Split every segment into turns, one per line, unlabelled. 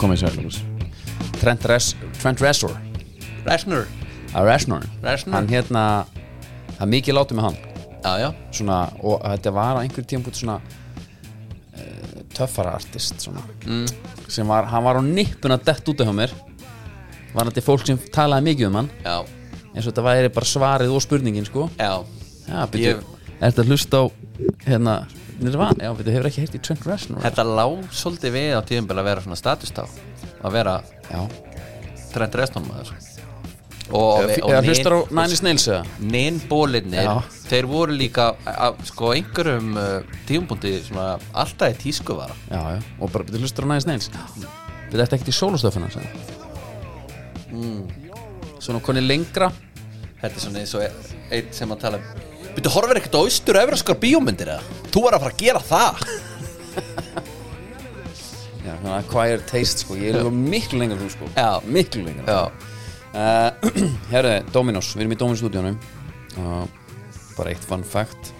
komið sælum Trent, Res, Trent Reznor
Reznor
að Reznor,
Reznor.
Ah, hann hérna það er mikið látið með hann
Já, já
svona, og þetta var á einhverjum tíum búin svona uh, töffara artist svona. sem var, hann var á nippun að dett út af hjá mér var þetta fólk sem talaði mikið um hann
Já,
eins og þetta væri bara svarið og spurningin sko
já
já, byrju,
Ég-
er þetta hlust á hérna, Nirvana, já, byrju, hefur ekki heyrt í Trent Reznor
Þetta lá svolítið við á tíðum að vera svona statustá að vera
já,
Trent Reznor maður og,
Eða- eða hlustar á Nine Inch Nails eða
Ninbólinnir,
Já.
þeir voru líka að, sko einhverjum uh, tíumbúndi svona alltaf í tísku vara
já, já, og bara byrju, hlustar á Nine Inch Nails við þetta ekkert í sólostöfuna mm. svona koni lengra
Þetta er svona eins og einn sem að tala um Byrju, horfir ekkert á austur evraskar bíómyndir eða? Þú er að fara að gera það
já, svona acquired taste sko, ég er alveg miklu lengra en þú sko,
Já.
miklu lengra
Já,
uh, herru, Dominos, við erum í Dominos stúdíunum uh, bara eitt fun fact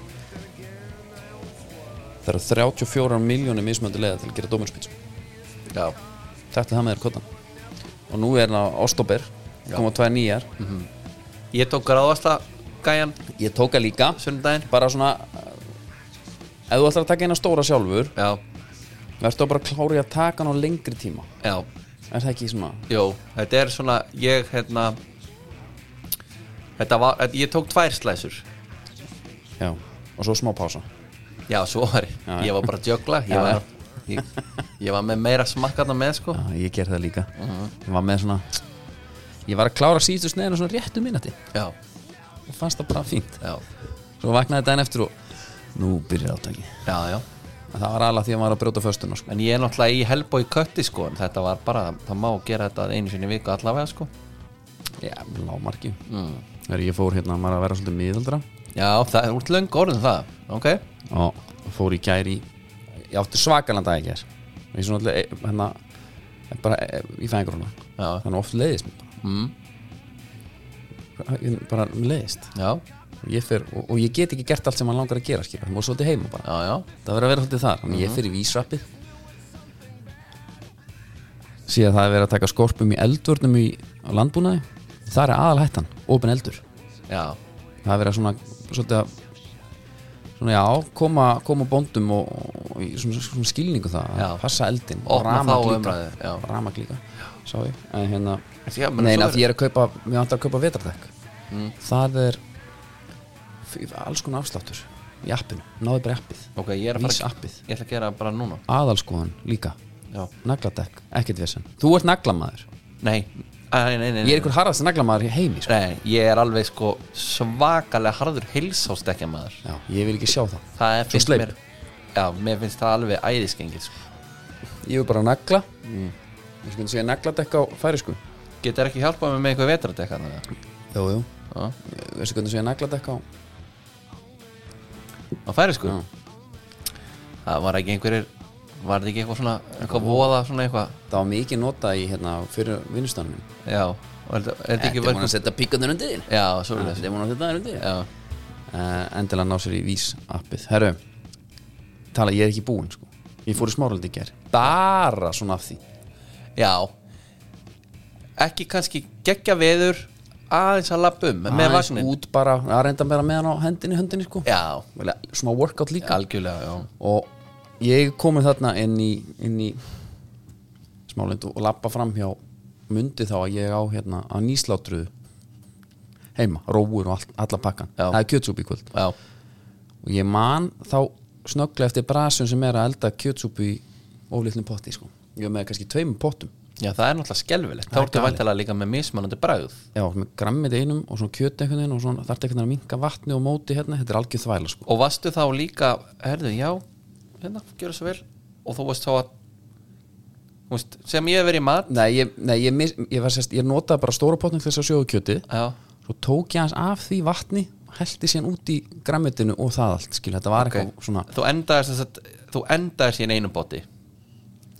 það eru 34 miljónir mismöndu leiða til að gera Dominos pizza
já,
Þetta það með þér kottan Og nú er það Óstobir Koma tvær nýjar
ég tók gráðasta gæjan
Ég tóka líka
sunnudaginn
Bara svona uh, Ef þú ætlar að taka eina stóra sjálfur
Já,
Vertu bara að klára í að taka hann á lengri tíma
já
Er það ekki svona
Jó, þetta er svona ég hérna þetta var, þetta- ég tók tvær slæsur
Já Og svo smá pása
já, svo var ég,
Já, já.
ég var bara að jögla ég,
Já, já.
var- ég, ég var með meira smakkarna með sko
Já, ég ger það líka Ég var með svona Ég var að klára síðustu sneiðinu svona réttu mínati
já,
Og fannst það bara fínt
já,
Svo vaknaði daginn eftir og Nú byrjar átaki
já, já
Það var alveg því að maður var að brjóta föstuna sko.
en ég er náttúrulega í helbó í kötti sko en þetta var bara, það má gera þetta einu sinni í viku allavega sko
Já, lámarki mm. Ég fór hérna, maður er að vera svolítið miðaldra
já, það er út löng orðin það ok,
og fór í gæri ég átti svakalanda í gær ég svona allir hérna bara eh, í fæðingruna
já,
þannig oft leiðist mér bara.
Mm.
Bara- ég- bara mér leiðist
já,
og ég, fer, og, og ég get ekki gert allt sem maður langar að gera skilur. það má svolítið heima bara
já, já
það verður að vera svolítið þar þannig
Mhm.
ég fer í vísrappið síðan það er verið að taka skorpum í eldvörnum í á landbúnaði þar er aðal hættan, opin eldur
já,
það er verið að svona svolítið að svona já, koma, koma bóndum og, og í svona, svona skilningu það
Já.
að passa eldin
Opna þá
líka,
umræðu, já.
ramak líka sá ég, en hérna
Já, menn,
neina,
svo
því ég er Mm. að kaupa, mér vantar að kaupa vetardekk það er f- alls konar afsláttur í appinu, náðu bara í appið
ok, ég er að
Vís
fara
appið.
ég ætla að gera bara núna
aðalskoðan líka,
já,
nagladekk ekkert vesen, þú ert naglamaður
nei, nei, nei, nei
ég er einhver harðast naglamaður í heimi sko.
Nei, ég er alveg sko svakalega harður heilsástekja maður
já, ég vil ekki sjá það
Það er
Svo
finnst
sleip.
mér Já, mér finnst það alveg æðiskengið sko.
ég vil bara nagla mm. ég skal segja nagladekk á færisku
Getur ekki hjálpað mér með eitthvað vetardekka þannig
Jú, jú,
að
veistu hvernig segja nagladekk á
Það færi sko Það var ekki einhverjir Var þetta ekki eitthvað svona Eitthvað voða svona eitthvað
Það var mikið nota í hérna fyrir vinnustanum
Já, og er þetta er þetta ekki
Þetta er múin að
verið
setja píkandur undir þín
Já, svo er
Þetta
þetta
er múin að setja þær undir þín
Já,
uh, Endilega ná sér í vís appið Herru, tala ég er ekki búinn sko Ég fór í smáraldi í ger Bara svona af því
já Ekki kannski geggja veður Aðeins að lappa um Með
Aðeins
vagnin
Út bara, að reynda meira með hann á hendinni, höndinni sko
Já,
Vel, Svona workout líka
algjörlega, já
Og ég komið þarna inn í, inn í smálund og lappa fram hjá mundi þá að ég á hérna að nýslátruðu heima, róur og all, alla pakkan
Já.
það er kjötsúpi í kvöld
Já,
og ég man þá snögglega eftir brasun sem er að elda kjötsúpu í oflitlum potti sko. ég var með kannski tveimum pottum
Já, það er náttúrulega skelfilegt. Þá
Það er
ertu
galið.
væntalega líka með mismunandi bragð.
já, með grammið einum og svona kjöt einhvern veginn og svona þarf einhvern veginn að minka vatni og móti hérna þetta er algjör þvæla sko.
Og varstu þá líka, herðu, já, hérna, gjör svo vel. Og þú varst þá að, þú veist, sem ég hef verið í mat,
nei, ég, nei, ég, mis, ég, var sérst, ég notaði bara stóra pottin til þess að sjóðu kjötið
já,
svo tók ég hans af því vatni heldi síðan út í grammitinu og það allt skil, þetta var
ok,
eitthvað svona
þú endaðist þess að, þú endaðist í einu bóti.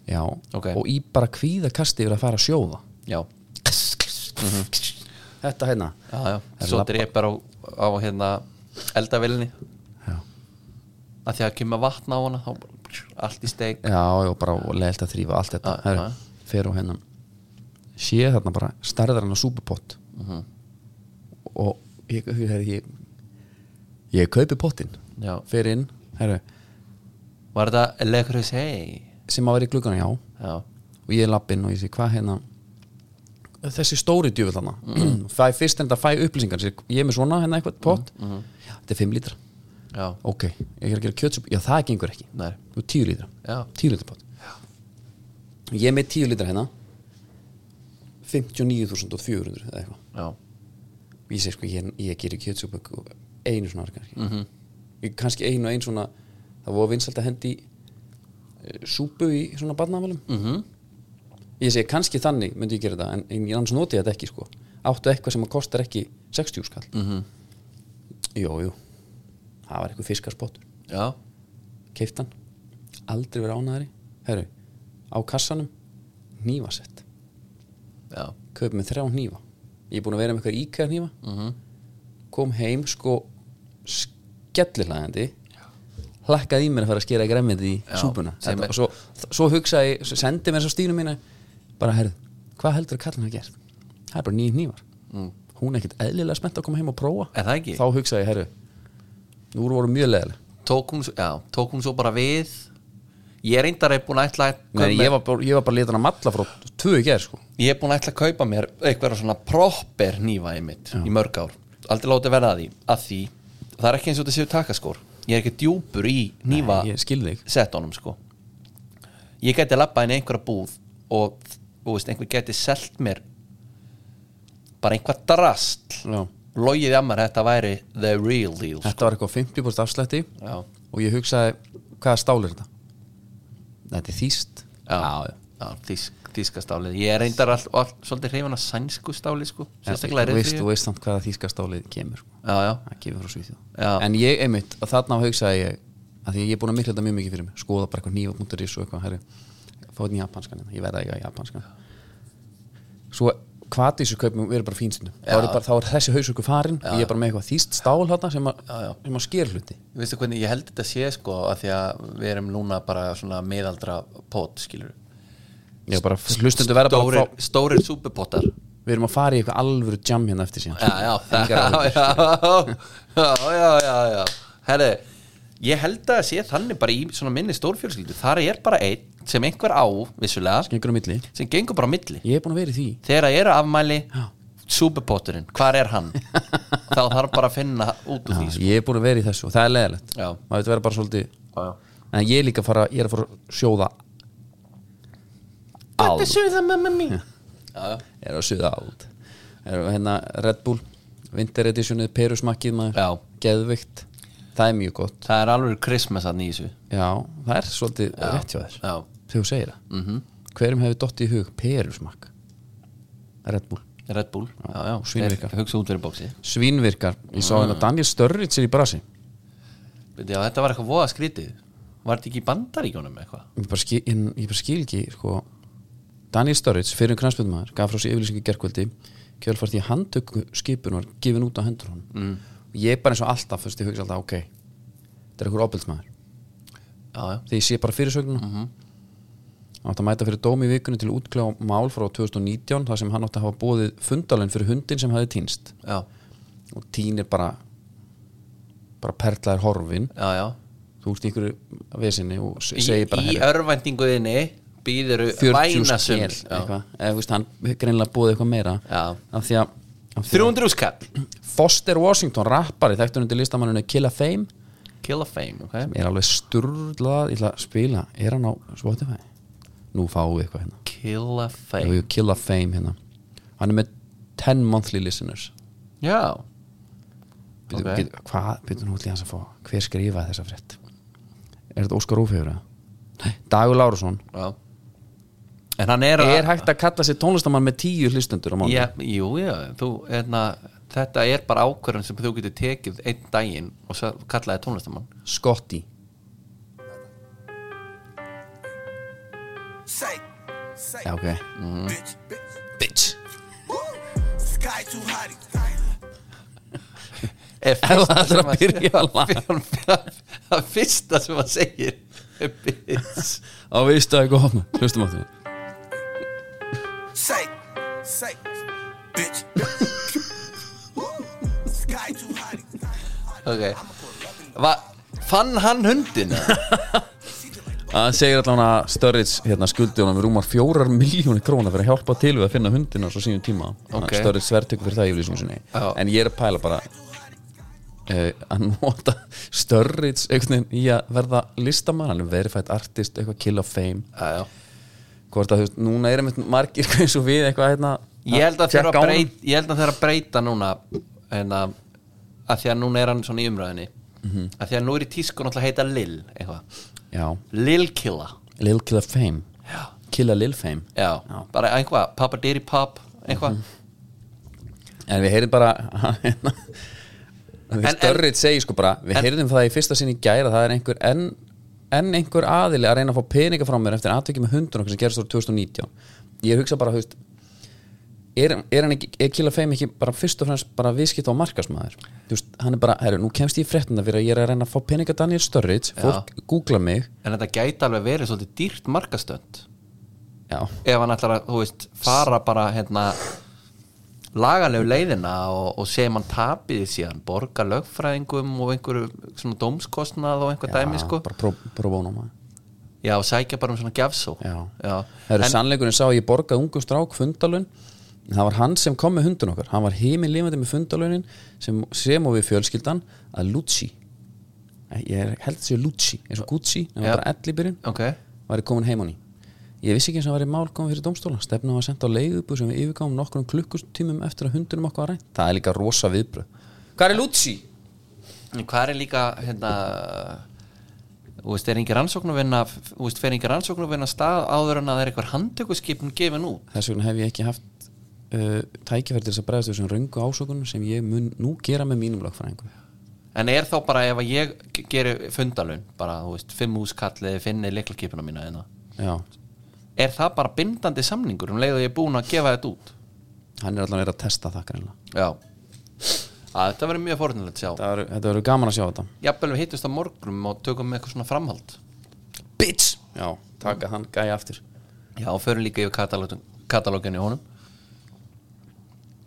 já,
Ok.
og í bara kvíðakasti yfir að fara að sjóða
Já,
þetta hérna
Mhm. já, já,
Það er
svo
labba-
drepar á, á hérna, eldavillinni,
já,
að því að kemur vatna á hana, þá bara, allt í steik.
já, já bara leilt að þrífa allt þetta
Já,
Herru,
já.
fer á hennan sé þarna bara starðar hann á súpupott
Mhm.
og ég, ég, ég, ég, ég kaupi pottin
Já.
fer inn, herru,
Var þetta Le Creuset?
sem að vera í gluggan, já
Já,
og ég lapp inn og ég sé hvað hérna þessi stóri djúvill hana
Mhm.
fæ fyrst en þetta fæ upplýsingar Sér, ég er með svona hérna eitthvað pott
Mhm,
Já, þetta er 5 lítra,
já,
ok, ég er að gera kjötsúp já það gengur ekki,
nei
þú er 10 lítra
Já,
10 lítra pott ég er með 10 lítra hérna 59.400 eða eitthvað
já,
ég segi sko, ég, ég gerir kjötsúpu einu svona orgar mm
Mhm.
ég, kannski einu og ein svona það voru vinsalt að hendi eh, súpu í svona barnafælum
mhm,
ég segi kannski þannig myndi ég gera þetta en, en ég annars noti ég þetta ekki sko áttu eitthvað sem að kostar ekki 60 skall
mhm
jú, jú, það var eitthvað fiskarspottur
Já,
keift hann, aldrei verið ánæðari herru, á kassanum nývasett,
já,
kaup með þrjá nýva ég er búin að vera með eitthvað íkæða nýva
mhm
kom heim sko skellilægandi hlakkaði í mér að fara að skera gremmið í
Já,
súpuna
sem
Þetta,
er-
og svo, svo hugsaði, svo sendi mér svo stínu mína bara herð, hvað heldur að kallin hafa gert það er bara nýjum nývar
Mm.
hún er ekkert eðlilega spennt að koma heim og prófa
Er það ekki?
þá hugsaði ég, herru, nú voru mjög leðileg
Tók hún, s- já, tók hún svo bara við Ég er reyndar að búin að ætla að kaupa
Nei, ég, var, bara- ég var bara litan að matla frá tvö í gerð sko.
ég er búin að ætla að kaupa mér eitthvað svona proper nýfa í mitt í mörg ár, aldrei látið verða að því að því, það er ekki eins og þetta séu takaskór ég er ekki djúpur í nýfa
ég skil þig
setunum sko ég gæti labbað inn í einhverja búð og þú veist, einhver gæti selt mér bara einhvað drast
Já.
logið að mér að þetta væri the real deal sko.
þetta var eitthvað 50% afslætti
já,
og ég hugsaði, hvaða stál er þetta þetta er þýst
já, já. þýsk, þýska stálið, ég er reyndar all, all, svolítið hrifan að sænsku stáli sko
þú
sérstaklega er
veist, þú veist samt hvaða þýska stálið kemur sko.
já, já,
það kemur frá Svíþjóð
Já.
en ég einmitt, að þarna hugsaði ég að því að ég er búin að mikla þetta mjög mikið fyrir mig skoða bara eitthvað nýfa.is og eitthvað herri, fá þetta japanskan, hérna, ég verða eitthvað japanskan svo hvað þessu kaupum verður bara fínsinu þá er, bara, þá er þessi hausöku farin og ég er bara með eitthvað þýst stál hérna sem, að- sem að sker hluti
Ég veistu hvernig ég held þetta sé sko að því að við erum núna bara svona miðaldra pot skilur
ég er bara, hlustundu verða bara
stórir,
að fá,
stórir súpupotar
við erum að fara í eitthvað alvöru jam hérna eftir síðan
já já, já,
Engar
já,
áhyggjur.
já, já, já, já, já. Herri, ég held að það sé þannig bara í svona minni stórfjölskyldu þar er bara einn sem einhver á vissulega
Gengur á milli.
sem gengur bara á milli
ég er búin að vera í því
þegar það eru afmæli
Já.
súpupoturinn, hvar er hann þá þarf bara að finna út úr því
Já,
sko.
ég er búin að vera í þessu og það er leðilegt
Já.
maður veit vera bara svolítið
Já, já.
en ég er líka að fara, ég er að fara að sjóða
Þetta er sögða mamma mín já, já.
ég er að sjóða áld er hérna Red Bull Winter Editionið, perusmakkið maður
Já.
geðvikt, það er mjög gott
það er alveg Christmas að nýsu
já, það er svolítið rétt hjá þér
já
þegar þú segir það
mm
hverjum hefur dott í hug perusmakk Red Bull
Red Bull, já, já,
Svínvirkar.
Þeir hugsa út fyrir bóksi
svínvirkar, ég
Mm.
sá hérna Daniel Störrits er í brasi
já, þetta var eitthvað voða skrítið var þetta ekki í bandaríkjónum eitthvað
ég bara skil, en, ég bara skil ekki sko. Daniel Sturridge, fyrir um knæspöldumæður gaf frá sér yfirlýsingu gerkvöldi kjölfært í handtöku skipun var gefin út á hendur honum mm. og ég bara eins og alltaf fyrst ég hugsa alltaf, ok þetta er einhver opildsmæður,
já, já,
þegar ég sé bara fyrirsögnuna mm
Mhm.
-hmm. átt að mæta fyrir dómi í vikunni til að útkljá mál frá 2019 þar sem hann átt að hafa bóðið fundalinn fyrir hundin sem hafi týnst
já,
og týnir bara bara perlaðir horfin
já, já.
þú veist í einhverju vesinni og se-
í,
segir bara
í
"Herri,
örvæntinguðinni býður
40 skell
vænasum já,
eitthvað, eða þú veist hann greinlega búið eitthvað meira
Já.
af því að af því að
300 skall
Foster Washington rappari þekktur undir listamanninu Kill a Fame
kill a fame, ok
er alveg sturlað, ég ætla að spila er hann á Spotify? Nú fáum við eitthvað hérna
kill a
Jú,
fame,
jú, Kill a Fame hérna hann er með 10 monthly listeners
já
Býtu,
Ok.
býtu, hvað, býtu nú til hans að fá hver skrifaði þessa frétt er þetta Óskar Ófegur eða? Nei, Dagur Lárusson
já en hann er,
er hægt að kalla sér tónlistamann með 10 hlustendur á mánu
já, jú, já, þú, enna þetta er bara ákvörðan sem þú getur tekið einn daginn og svo kallaði tónlistamann
Scotty
Say, say,
Já, ok
bitch, bitch.
Bitch
Woo. Sky too hot.
er
Ef það
fyrsta
ætlar
sem
að byrja að laga.
það fyrsta sem að segir er bitch
sko. Á veistu að eitthvað hopna Hlustum á því
Shake, shake, bitch. Sky too hot.
Ok Va, Fann hann hundin?
Það segir allavega Sturridge hérna, skuldi honum rúmar fjórar miljónir króna fyrir að hjálpa til við að finna hundina svo sínum tíma
Ok.
okay. Sturridge verðtöku fyrir það yfirlýsum sinni
Já.
en ég er að pæla bara uh, að nota Sturridge einhvern veginn í að verða listamann hann er verified artist, eitthvað kill of fame
Já, já
hvort að þú veist, núna erum við margir eins og við eitthvað hérna
Ég held að þeir
tékka
að
á honum.
breyta Ég held að þeir að breyta núna En að Því að núna er hann svona í umræðinni mm að Því að nú er í tísku náttúrulega að heita Lil eitthvað.
Já,
Lil Killa
Lil Kill of Fame
Já,
Killa Lil Fame
já. bara einhvað Papa Diri Pop Einhvað
Mhm. En við heyrðum bara hérna,
En-
Störrit segir sko bara Við
en-
heyrðum það í fyrsta sinni í gæra Það er einhver enn en einhver aðili að reyna að fá peninga frá mér eftir aðtöki með hundun okkur sem gerist ára 2019 ég hugsa bara, haust er, er hann ekki, er Killa Fame ekki bara fyrst og fremst bara viðskipt á markasmaður þú veist, hann er bara, herru, nú kemst ég í fréttina fyrir að ég er að reyna að fá peninga Daniel Sturridge fólk googla mig,
En þetta gæti alveg verið svolítið dýrt markastönd
já,
Ef hann ætlar að, þú veist, fara bara hérna lagalegu leiðina og, og sem hann tapið síðan borga lögfræðingum og einhverju svona dómskostnað og einhver dæmi sko
Ah, bara pró, pró bóna maður
Já, og sækja bara um svona gjafsó
Já.
Já.
Það eru
En-
sannleikurinn sá að ég borgaði ungum strák fundalun Það var hann sem kom með hundun okkar Hann var heiminn lifandi með fundalunin sem, sem og við fjölskyldan að Lucci Ég er- held að sé Lucci eins og Gucci, það
Já.
var bara ell í byrjun
Ok,
væri komin heim á ný Ég vissi ekki eins og hann væri mál komin fyrir dómstóla Stefna var sendt á leigubu sem við yfirgáum nokkrum klukkustímum eftir að hundunum okkar var rænt Það er líka rosa viðbröð Hvað er Lucci?
en hvað er líka hérna Þú veist, er engin rannsóknarvinna Þú veist, fer engin rannsóknarvinna af stað áður en að það er eitthvað handtökuskipin gefin út
Þess vegna hef ég ekki haft uh, tækifæri til þess að bregðast þessum röngu ásökunum sem ég mun nú gera með mínum lögfræðingum
En er þá bara ef að ég g- geri fundalun bara, þú veist, fimm úskallið finni leiklakipina mína hérna
Já,
Er það bara bindandi samningur um leið og ég er búin að gefa þetta út?
hann er allan verið að testa það greinlega
Já að, Þetta verður mjög forunlega að sjá
verður, þetta verður gaman að sjá þetta
Jafnvel við hittust á morgrum og tökum eitthvað svona framhald
Bitch! Já, taka hann gæja aftur
Já, og förum líka yfir katalógin, katalógin í honum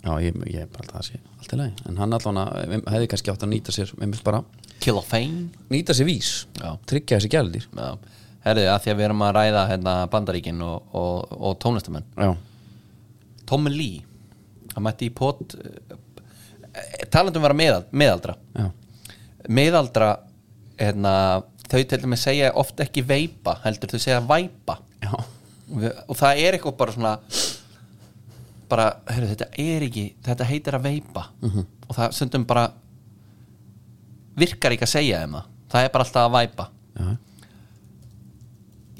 Já, ég, ég er bara alltaf að sé allt í lagi En hann allan að, hefði kannski átt að nýta sér einmitt bara,
Kill of Fame
nýta sér vís
Já.
Tryggja þessi gældir
Já, herriði, að því að við erum að ræða hérna, bandaríkin og, og, og tónlistamenn
Já,
Tommy Lee, hann mætti í pot eh, talandum vera meðal, meðaldra
já,
meðaldra hérna, þau til dæmis segja oft ekki veipa heldur þau segja væpa
já
Við- og það er eitthvað bara svona bara, herru, þetta er ekki þetta heitir að veipa
Mhm.
-hmm. og það stundum bara virkar ekki að segja þeim það það er bara alltaf að væpa
Já,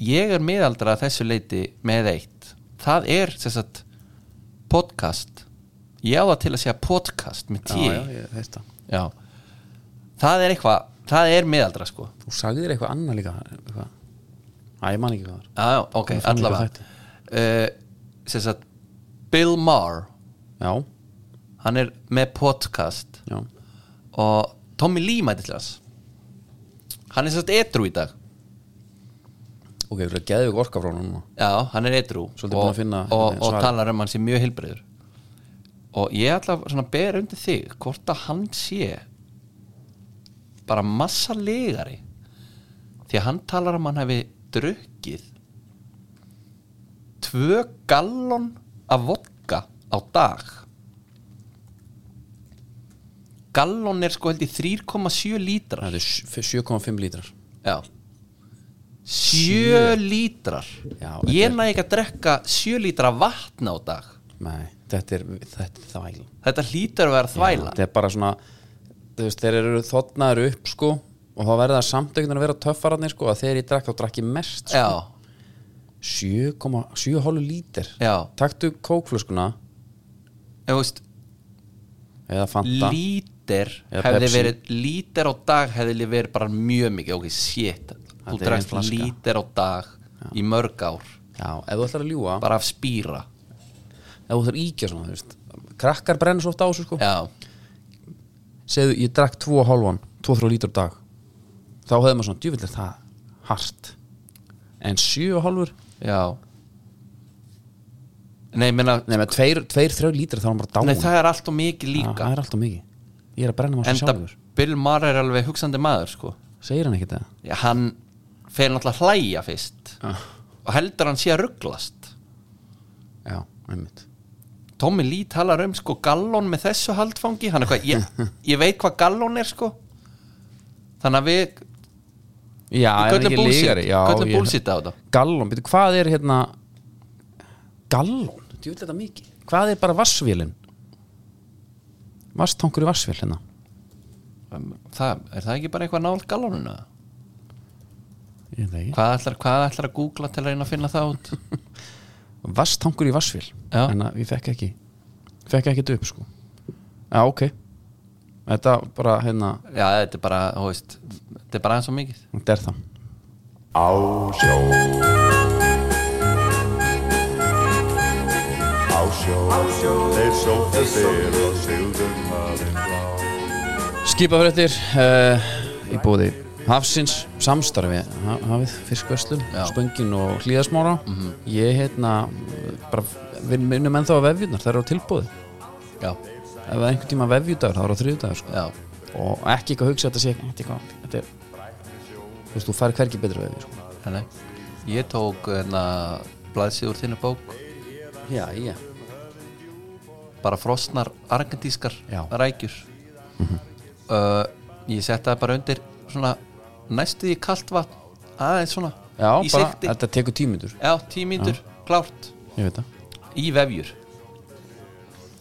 ég er miðaldra að þessu leiti með eitt það er sem sagt podcast ég á það til að segja podcast með tí
já, já ég veist það
Já. það er eitthvað það er miðaldra sko
Þú sagði þér eitthvað annað líka eitthvað. Æ, ég man ekki hvað það var
já, já, ok,
Ég fann
allavega
líka
uh, sem sagt Bill Maher,
Já,
hann er með podcast
já,
og Tommy Lee mætti til þess hann er sem sagt edru í dag
ok, þú geðu ekki orka frá hann núna
Já, hann er edru
Svolítið
og,
búinn að finna
og,
hérna,
og
svarið.
talar um hann sé mjög heilbreyður og ég ætla að svona bera undir þig hvort að hann sé bara massa legari því að hann talar um hann hefði drukkið tvö gallon af vodka á dag gallon er sko held í 3,7 lítrar
Það er 7,5 lítrar
Já Sjö lítrar
Já, þetta
Ég
er-
næg ekki að drekka sjö lítra vatn á dag
Nei, þetta er, þetta er þvæl
Þetta hlýtur að vera þvæla
þetta er bara svona þú veist, þeir eru þotnaður upp sko og þá verða það samt einhvern veginn að vera töffararnir sko að þegar ég drakk þá drakk ég mest sko.
Já,
7,7 lítir
Já.
taktu kókflöskuna
en þú veist
eða fanta
Lítir
Eða
hefði
Pepsi.
verið Lítir á dag hefði verið bara mjög mikið Ok, shit
er
Þú
ein
drekst
flaska.
lítir á dag Í mörg ár
já, ef þú ætlar að ljúga
Bara af spýra
ef þú ætlar að íkja svona, þú veist krakkar brenna svo ofta á þessu sko
Já,
segðu, ég drakk 2,5 2-3 lítur á dag þá hefði maður svona, djúvill er það hart en 7,5
já Nei, menna,
Nei, með tveir, sko, tveir, þrjá lítra þá er hann bara dáin
nei það er alltaf mikið
Já,
líka
það er alltaf mikið Ég er að brenna maður
Enda
sjálfur
Bill Maher er alveg hugsandi maður sko.
Segir hann ekki það?
Já, Hann fer náttúrulega að hlæja fyrst
Ah.
Og heldur hann sé að rugglast
Já, einmitt
Tommy Lee talar um sko gallón með þessu haldfangi Hann er hvað, ég, ég veit hvað gallón er sko Þannig að við
Já,
Við
er hann
köllum
ekki
bullshit.
lígari? Já,
Köllum
ég-
bullshit á þetta.
Gallon, betur, hvað er hérna Gallon? Þú vil þetta mikið Hvað er bara vassvílin? Vasstankur í vassvíl hérna
um, það, Er það ekki bara eitthvað nált gallónuna?
Ég veit það ekki
Hvað ætlar, hvað ætlar að googla til að reyna að finna það út?
Vasstankur í vassvíl
Já.
En að ég fekk ekki Fekk ekki þetta upp sko Já, ok Þetta bara hérna
Já, þetta er bara, þú veist Þetta er bara eins og mikið
Þetta er það
Á sjó Á sjó Þeir sóttu þér og sigðu hafinn blá
Skipafréttir uh, í bóði Hafsins samstarfi ha- hafið fiskvöslun,
Já.
spöngin og hlýðasmára ég hérna bara við minnum ennþá á vefjurnar það eru á tilbúði
Já,
ef það er einhvern tíma vefjurdagur það eru á þriðjudagur sko.
já,
og ekki eitthvað að hugsa að þetta sé ekki þetta er eitthvað þetta er þú veist þú fær hvergi betra vefjur sko.
henni Ég tók hérna blaðsið úr þínu bók
já, já
bara frosnar argentískar
Já. Mhm.
rækjur uh, ég setti það bara undir svona næstuði kalt vatn aðeins svona
já,
í
bara
sikti
þetta tekur tímindur
já, tímíndur, klárt
ég veit það
í vefjur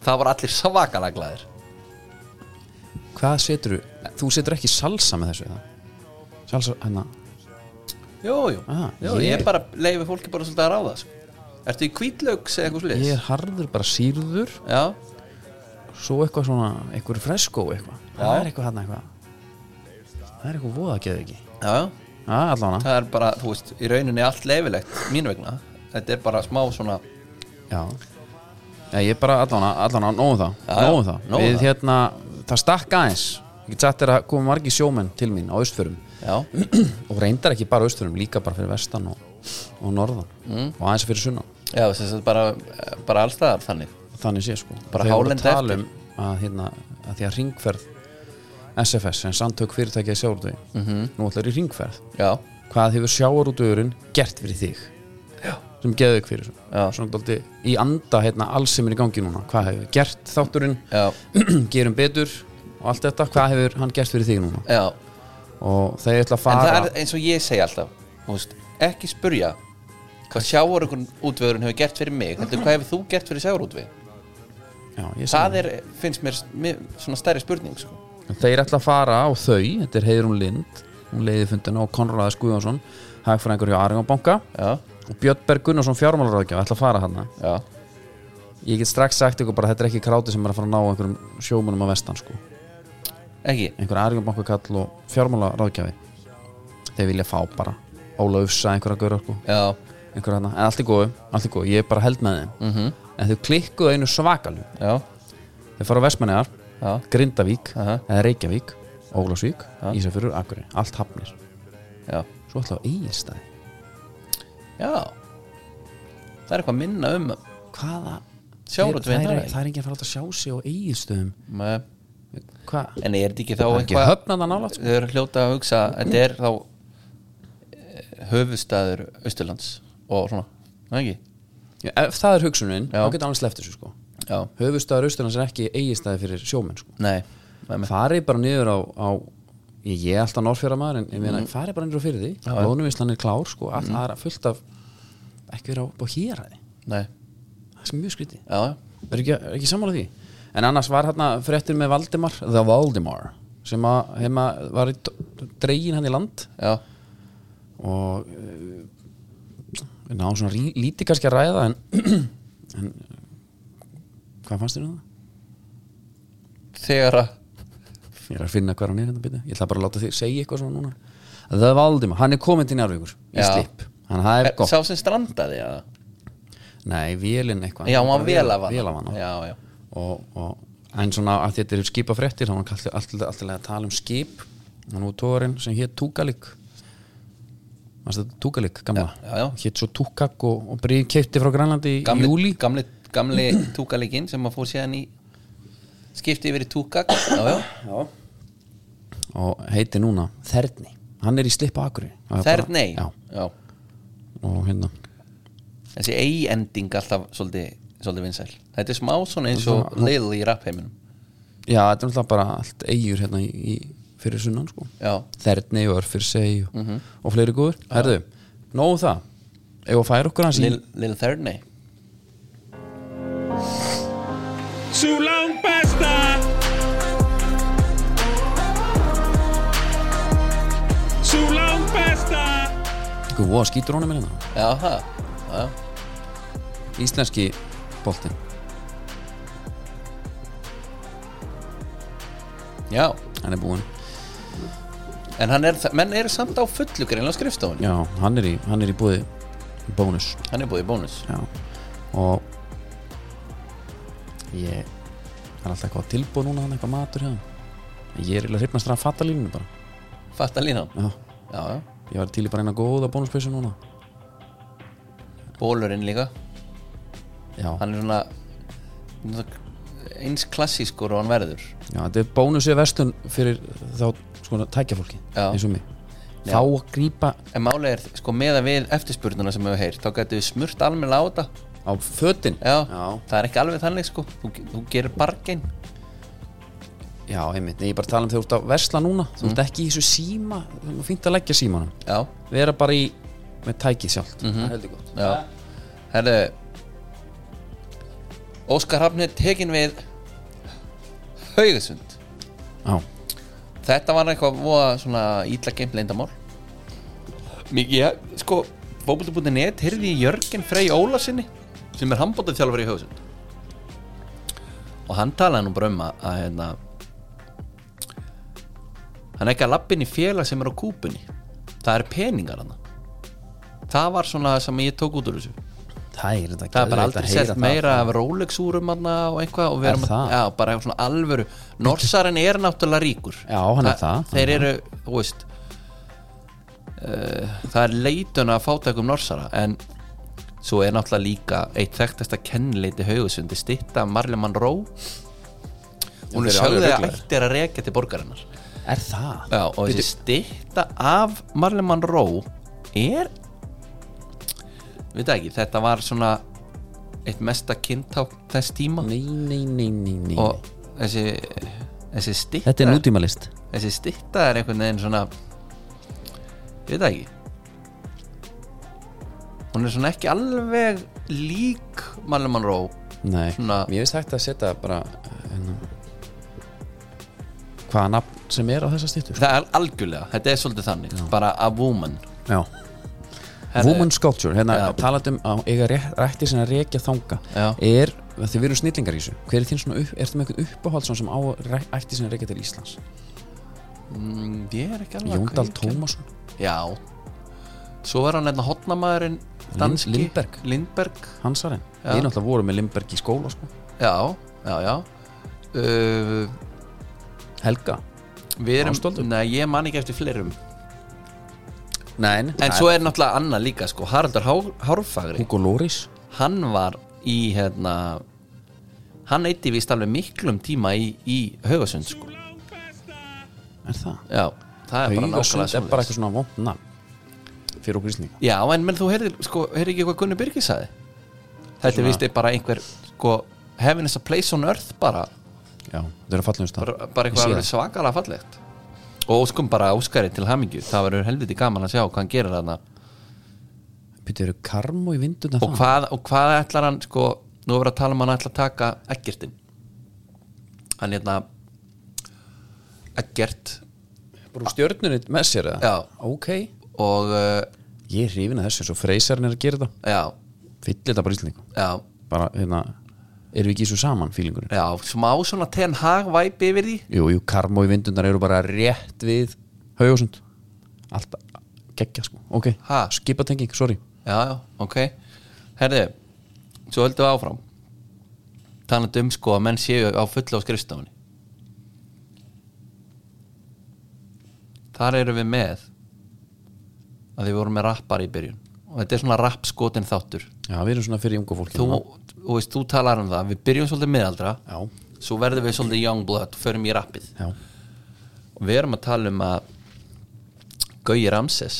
það var allir svakalega glæðir
hvað setur þú setur ekki salsa með þessu eða? salsa hérna
jú, jú,
Ah,
jú
ég-
ég, bara leifi fólki bara svolítið að ráða sko. ertu í kvítlaugs eða eitthvað
ég
sliðis
er harður bara sírður
já,
svo eitthvað svona, eitthvað fresko eitthvað, það er eitthvað hann eitthvað það er eitthvað voða geðu ekki
já, já
já, allavega,
það er bara, þú veist, í rauninni allt leifilegt mín vegna, þetta er bara smá svona
já já, ég er bara allavega, allavega, nógu það
Já, já,
nógu það,
nóg um
við
það.
hérna það stakk aðeins, ég get sagt þér að koma margi sjómenn til mín á austförum
já,
og reyndar ekki bara á austförum, líka bara fyrir vestan og, og norðan
Mm.
og aðeins fyrir sunnan,
já sem sagt bara, bara allstaðar þannig
þannig sé sko
Bara
Þeir voru
hálenda
að tala um að, hérna, að því að ringferð SFS, en samtök fyrirtækið sjáurðu mm
Mhm.
-hmm. nú ætlar í ringferð
já,
hvað hefur sjáarútugurinn gert fyrir þig Já. sem geðu ykkur fyrir
Já.
þessu svona daldi í anda hérna, alls sem er í gangi núna hvað hefur gert þátturinn
já,
gerum betur og allt þetta hvað hefur hann gert fyrir þig núna
já
og þeir ætla að
en
fara
það er eins og ég segi alltaf þú veist, ekki spurja hvað sjáur okkur útvöðurinn hefur gert fyrir mig heldur hvað hefur þú gert fyrir sjáur útvöð
Já, ég segi
það er, finnst mér, mér svona stærri spurning sko.
En Þeir ætla að fara á þau, þetta er Heiðrún Lind hún leiði fundina og Konraðis Guðjónsson hagfræðingur hjá Arion Banka
já,
og Björn Berg Gunnarsson fjármálaráðgjá ætla að fara hana
já,
ég get strax sagt ykkur bara þetta er ekki kráti sem er að fara að ná einhverjum sjómunum á vestan sko.
ekki
einhver argjumbankakall og fjármála ráðgjafi þeir vilja fá bara Óla Ufsa einhverja gaur sko.
já,
einhverja hana, en allt er góðu, allt er góðu ég er bara held með þeim
Mhm.
-hmm. en þau klikkuðu einu svakalju
já,
þeir fara á Vestmanniðar,
já,
Grindavík
Aha.
eða Reykjavík, Ólafsvík Ísafjörur, Akurey, allt hafnir
já,
svo ætla á Egilstaði
já það er eitthvað minna um
hvaða
Sjávarútveginn
það,
þar,
er-
ekki?
það er enginn að fara að sjá sig á Egilstöðum
með,
hvað?
en er þetta ekki þá
það er ekki sko.
eitthvað
höfnanda nálaft
þau eru hljóta að hugsa þetta er þá eh, höfuðstaður Austurlands og svona, er það ekki
ef það er hugsunin,
Já.
þá getur annars leftur sko.
já,
höfustæður Austurlands er ekki Egilstaði fyrir sjómenn sko.
nei, með með
farið bara niður á, á ég, ég er alltaf norrfjara maður en, en mm. farið bara niður á fyrir því lónumislan er klár sko, all, það er fullt af ekki verið á, á héræði
nei,
það er mjög skrítið,
já, já
er ekki, er ekki sammála því en annars var hérna fréttir með Valdimar The Valdimar sem að, heima, var í t- dregin hann í land
Já,
og eh, við náðum svona rí, lítið kannski að ræða en, en hvað fannst þér um það?
þegar að
Ég er að finna hver hann er hérna byrja Ég ætla bara að láta þig segja eitthvað svona núna The Valdimar, hann er komin til Njárvíkur Í
Já. Eh,
slip, hann það er gott
Sá sem strandaði að
Nei, vélinn eitthvað
Já,
Hann er
hann
bara
vel
vél-
af hann
vél af hana.
Já, já,
og, og En svona að þetta eru skipafréttir Þá var hann kallt alltaf alltaf að tala um skip Og nú tóðurinn sem hétt Túkalik Manstu þetta Túkalik, gamla
Já, já, já.
Hétt svo Túkak og, og Bríð keipti frá Grænlandi í
gamli,
júli
gamli, gamli túkalegin sem að fór síðan í skipti yfir í túkak já, já.
og heiti núna Þerni hann er í slippa akkur
Þerney
já,
Já.
og hérna
þessi ei-ending alltaf svolítið, svolítið vinsæl þetta er smá svona eins og Lil í rappheiminum
já, þetta er náttúrulega bara allt eigur hérna í, í fyrir sunnan sko
já,
Þerni og Örfyr segi og,
Mhm.
og fleiri góður herðu, nógu það ef að færa okkur hans í
Lil, Lil Thurney
Sú langt besta Sú langt besta
Guð, voða skítur honum er hérna
já, það já,
íslenski boltinn
já,
hann er búinn
en hann er menn eru samt á fullu greinlega á skrifstofunni
já, hann er í, hann er í búði bónus
hann er búið í bónus
já. og ég það er alltaf eitthvað tilbúð núna hann eitthvað matur hérna En ég er eiginlega hrypnast að fatta línunni bara
fatta línan
já.
já, já,
ég var til í bara eina góða bónuspeysu núna
bólurinn líka
já,
hann er svona eins klassískur og hann verður
já þetta er bónus í vestun fyrir þá sko tækjafólki
Já.
eins og mig
Já.
þá að grípa
en málega er sko með að við eftirspurnuna sem við heyrt þá gætu við smurt almenna á þetta
á fötin
já,
já,
það er ekki alveg þannig sko þú, þú gerir bargein
já einmitt Nei, ég er bara að tala um þegar þú ert að versla núna þú ert ekki í þessu síma þú er fínt að leggja símanum
já,
vera bara í með tækið sjálft mm -hmm. heldur gott
já herru Óskar Hafnir tekin við Haugesund
já,
þetta var eitthvað voða svona ítla geimt leyndamál mikið, ja, sko fókbóltu.net heyrði í Jörgen Frey Ólasinni sem er handbótað þjálfur í Haugesund og hann talaði nú bara um að, að hérna hann er ekki að lappin í félag sem er á kúpunni það er peningar hann það var svona sem ég tók út úr þessu
það er þetta
það er
geðveikt
bara aldrei
að heyra
sett
það. sko.
meira af Rolex úrum hann og eitthvað og við
Er
erum
það?
að, já, bara eitthvað svona alvöru Norsarinn er náttúrulega ríkur
Já, hann er það.
þeir eru, þú veist uh, það er leitun að fátækum Norsara en svo er náttúrulega líka eitt þekktasta kennileiti haugusundi stitta Marley Monroe hún
þeir eru
er
alveg
sögðu að
ruglaðir.
ættir að rekja til borgarinnar
er það
Já, og þessi stitta af Marley Monroe er við það ekki, þetta var svona eitt mesta kynnták þess tíma
nei, nei, nei, nei, nei.
og þessi, þessi stitta
þetta er nútímalist
þessi stitta er einhvern veginn svona við það ekki hún er svona ekki alveg lík Marley Monroe
nei,
Svona-
mér finnst hægt að setja bara hérna, hvaða nafn sem er á þessa stýttu
það er algjörlega, þetta er svolítið þannig bara a woman
já
Herri-
Woman Sculpture, hérna
Já.
talandum á eiga rétt- rættir sem að rekja þanga
Já.
er, því við erum snillingar í þessu hver er þín svona, upp, er það með eitthvað uppáhald svona sem á rek- ættir sem að rekja til Íslands
mm, ég er ekki alveg að
Jóndal
kveikja.
Tómasson
Já Svo var hann hérna hotnamaðurinn danski
Lindberg.
Lindberg
Hansarinn,
Já.
við náttúrulega vorum með Limberg í skóla sko.
Já, já, já uh,
Helga
Við erum
Ástvaldur?
Nei, ég man ekki eftir fleirum
Nei, nei.
En svo er náttúrulega annað líka sko Haraldur Há- Hárfagri
Hugo Loris
Hann var í hérna Hann eitti vist alveg miklum tíma í, í Haugasund sko
Er það?
Já, það er bara nákvæmlega
Haugasund er bara
svoleiðis.
eitthvað svona vondna Fyrir okkur íslendinga
Já, en menn þú heyrðir sko, heyrðir ekki hvað Gunni Birgis saði Þetta
Svona-
vist er bara einhver sko, Heaven is a place on earth bara
Já, þetta er að falla um stað
bara, bara
Ég
eitthvað
sé
alveg svakalega fallegt og óskum bara Óskari til hamingju það verður helviti gaman að sjá hvað hann gerir þarna
það. Býttu, eru karmo í vindun
og hvað, og hvað ætlar hann sko, nú er verið að tala um að hann ætlar að taka Eggertin hann hérna Eggert
Brú stjörnunni með sér eða?
Já.
Ok
og uh,
Ég er hrifin að þessu, svo freysarinn er að gera þetta
já,
Fyllir þetta bara íslendinga
já,
Bara, hérna Erum við ekki í svo saman fílingurinn?
já smá svona ten hag væpi yfir því
Jú, jú, karmo í vindundar eru bara rétt við Hauðjósund Alltaf, geggja sko, ok
Ha?
Skipatenging, sorry
já, já, ok herðu, svo höldum við áfram talandi um sko að menn séu á fullu á skrifstofunni þar eru við með að við vorum með rappar í byrjun og og þetta er svona rappskotin þáttur
Já, við erum svona fyrir ungu fólki
þú,
núna.
og veist, þú talar um það, við byrjum svolítið miðaldra
Já,
svo verðum við svolítið young blood og förum í rappið
já,
og við erum að tala um að Gauji Ramses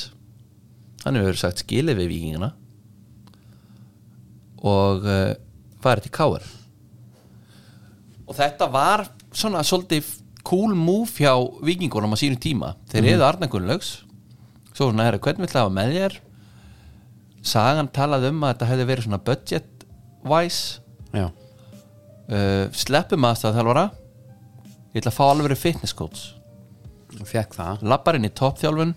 hann hefur sagt skilið við vikingina og uh, farið til Káar og þetta var svona svolítið cool move hjá vikingunum á sínum tíma þeir mm -hmm. eða Arna Gunnlaugs svo svona herra, hvernig vill hafa með þér sagan talaði um að þetta hefði verið svona budget wise
já
uh, sleppum aðstæðaþjálfara ég ætla að fá alveg fitness coach
Fekk það
lappar inn í toppþjálfun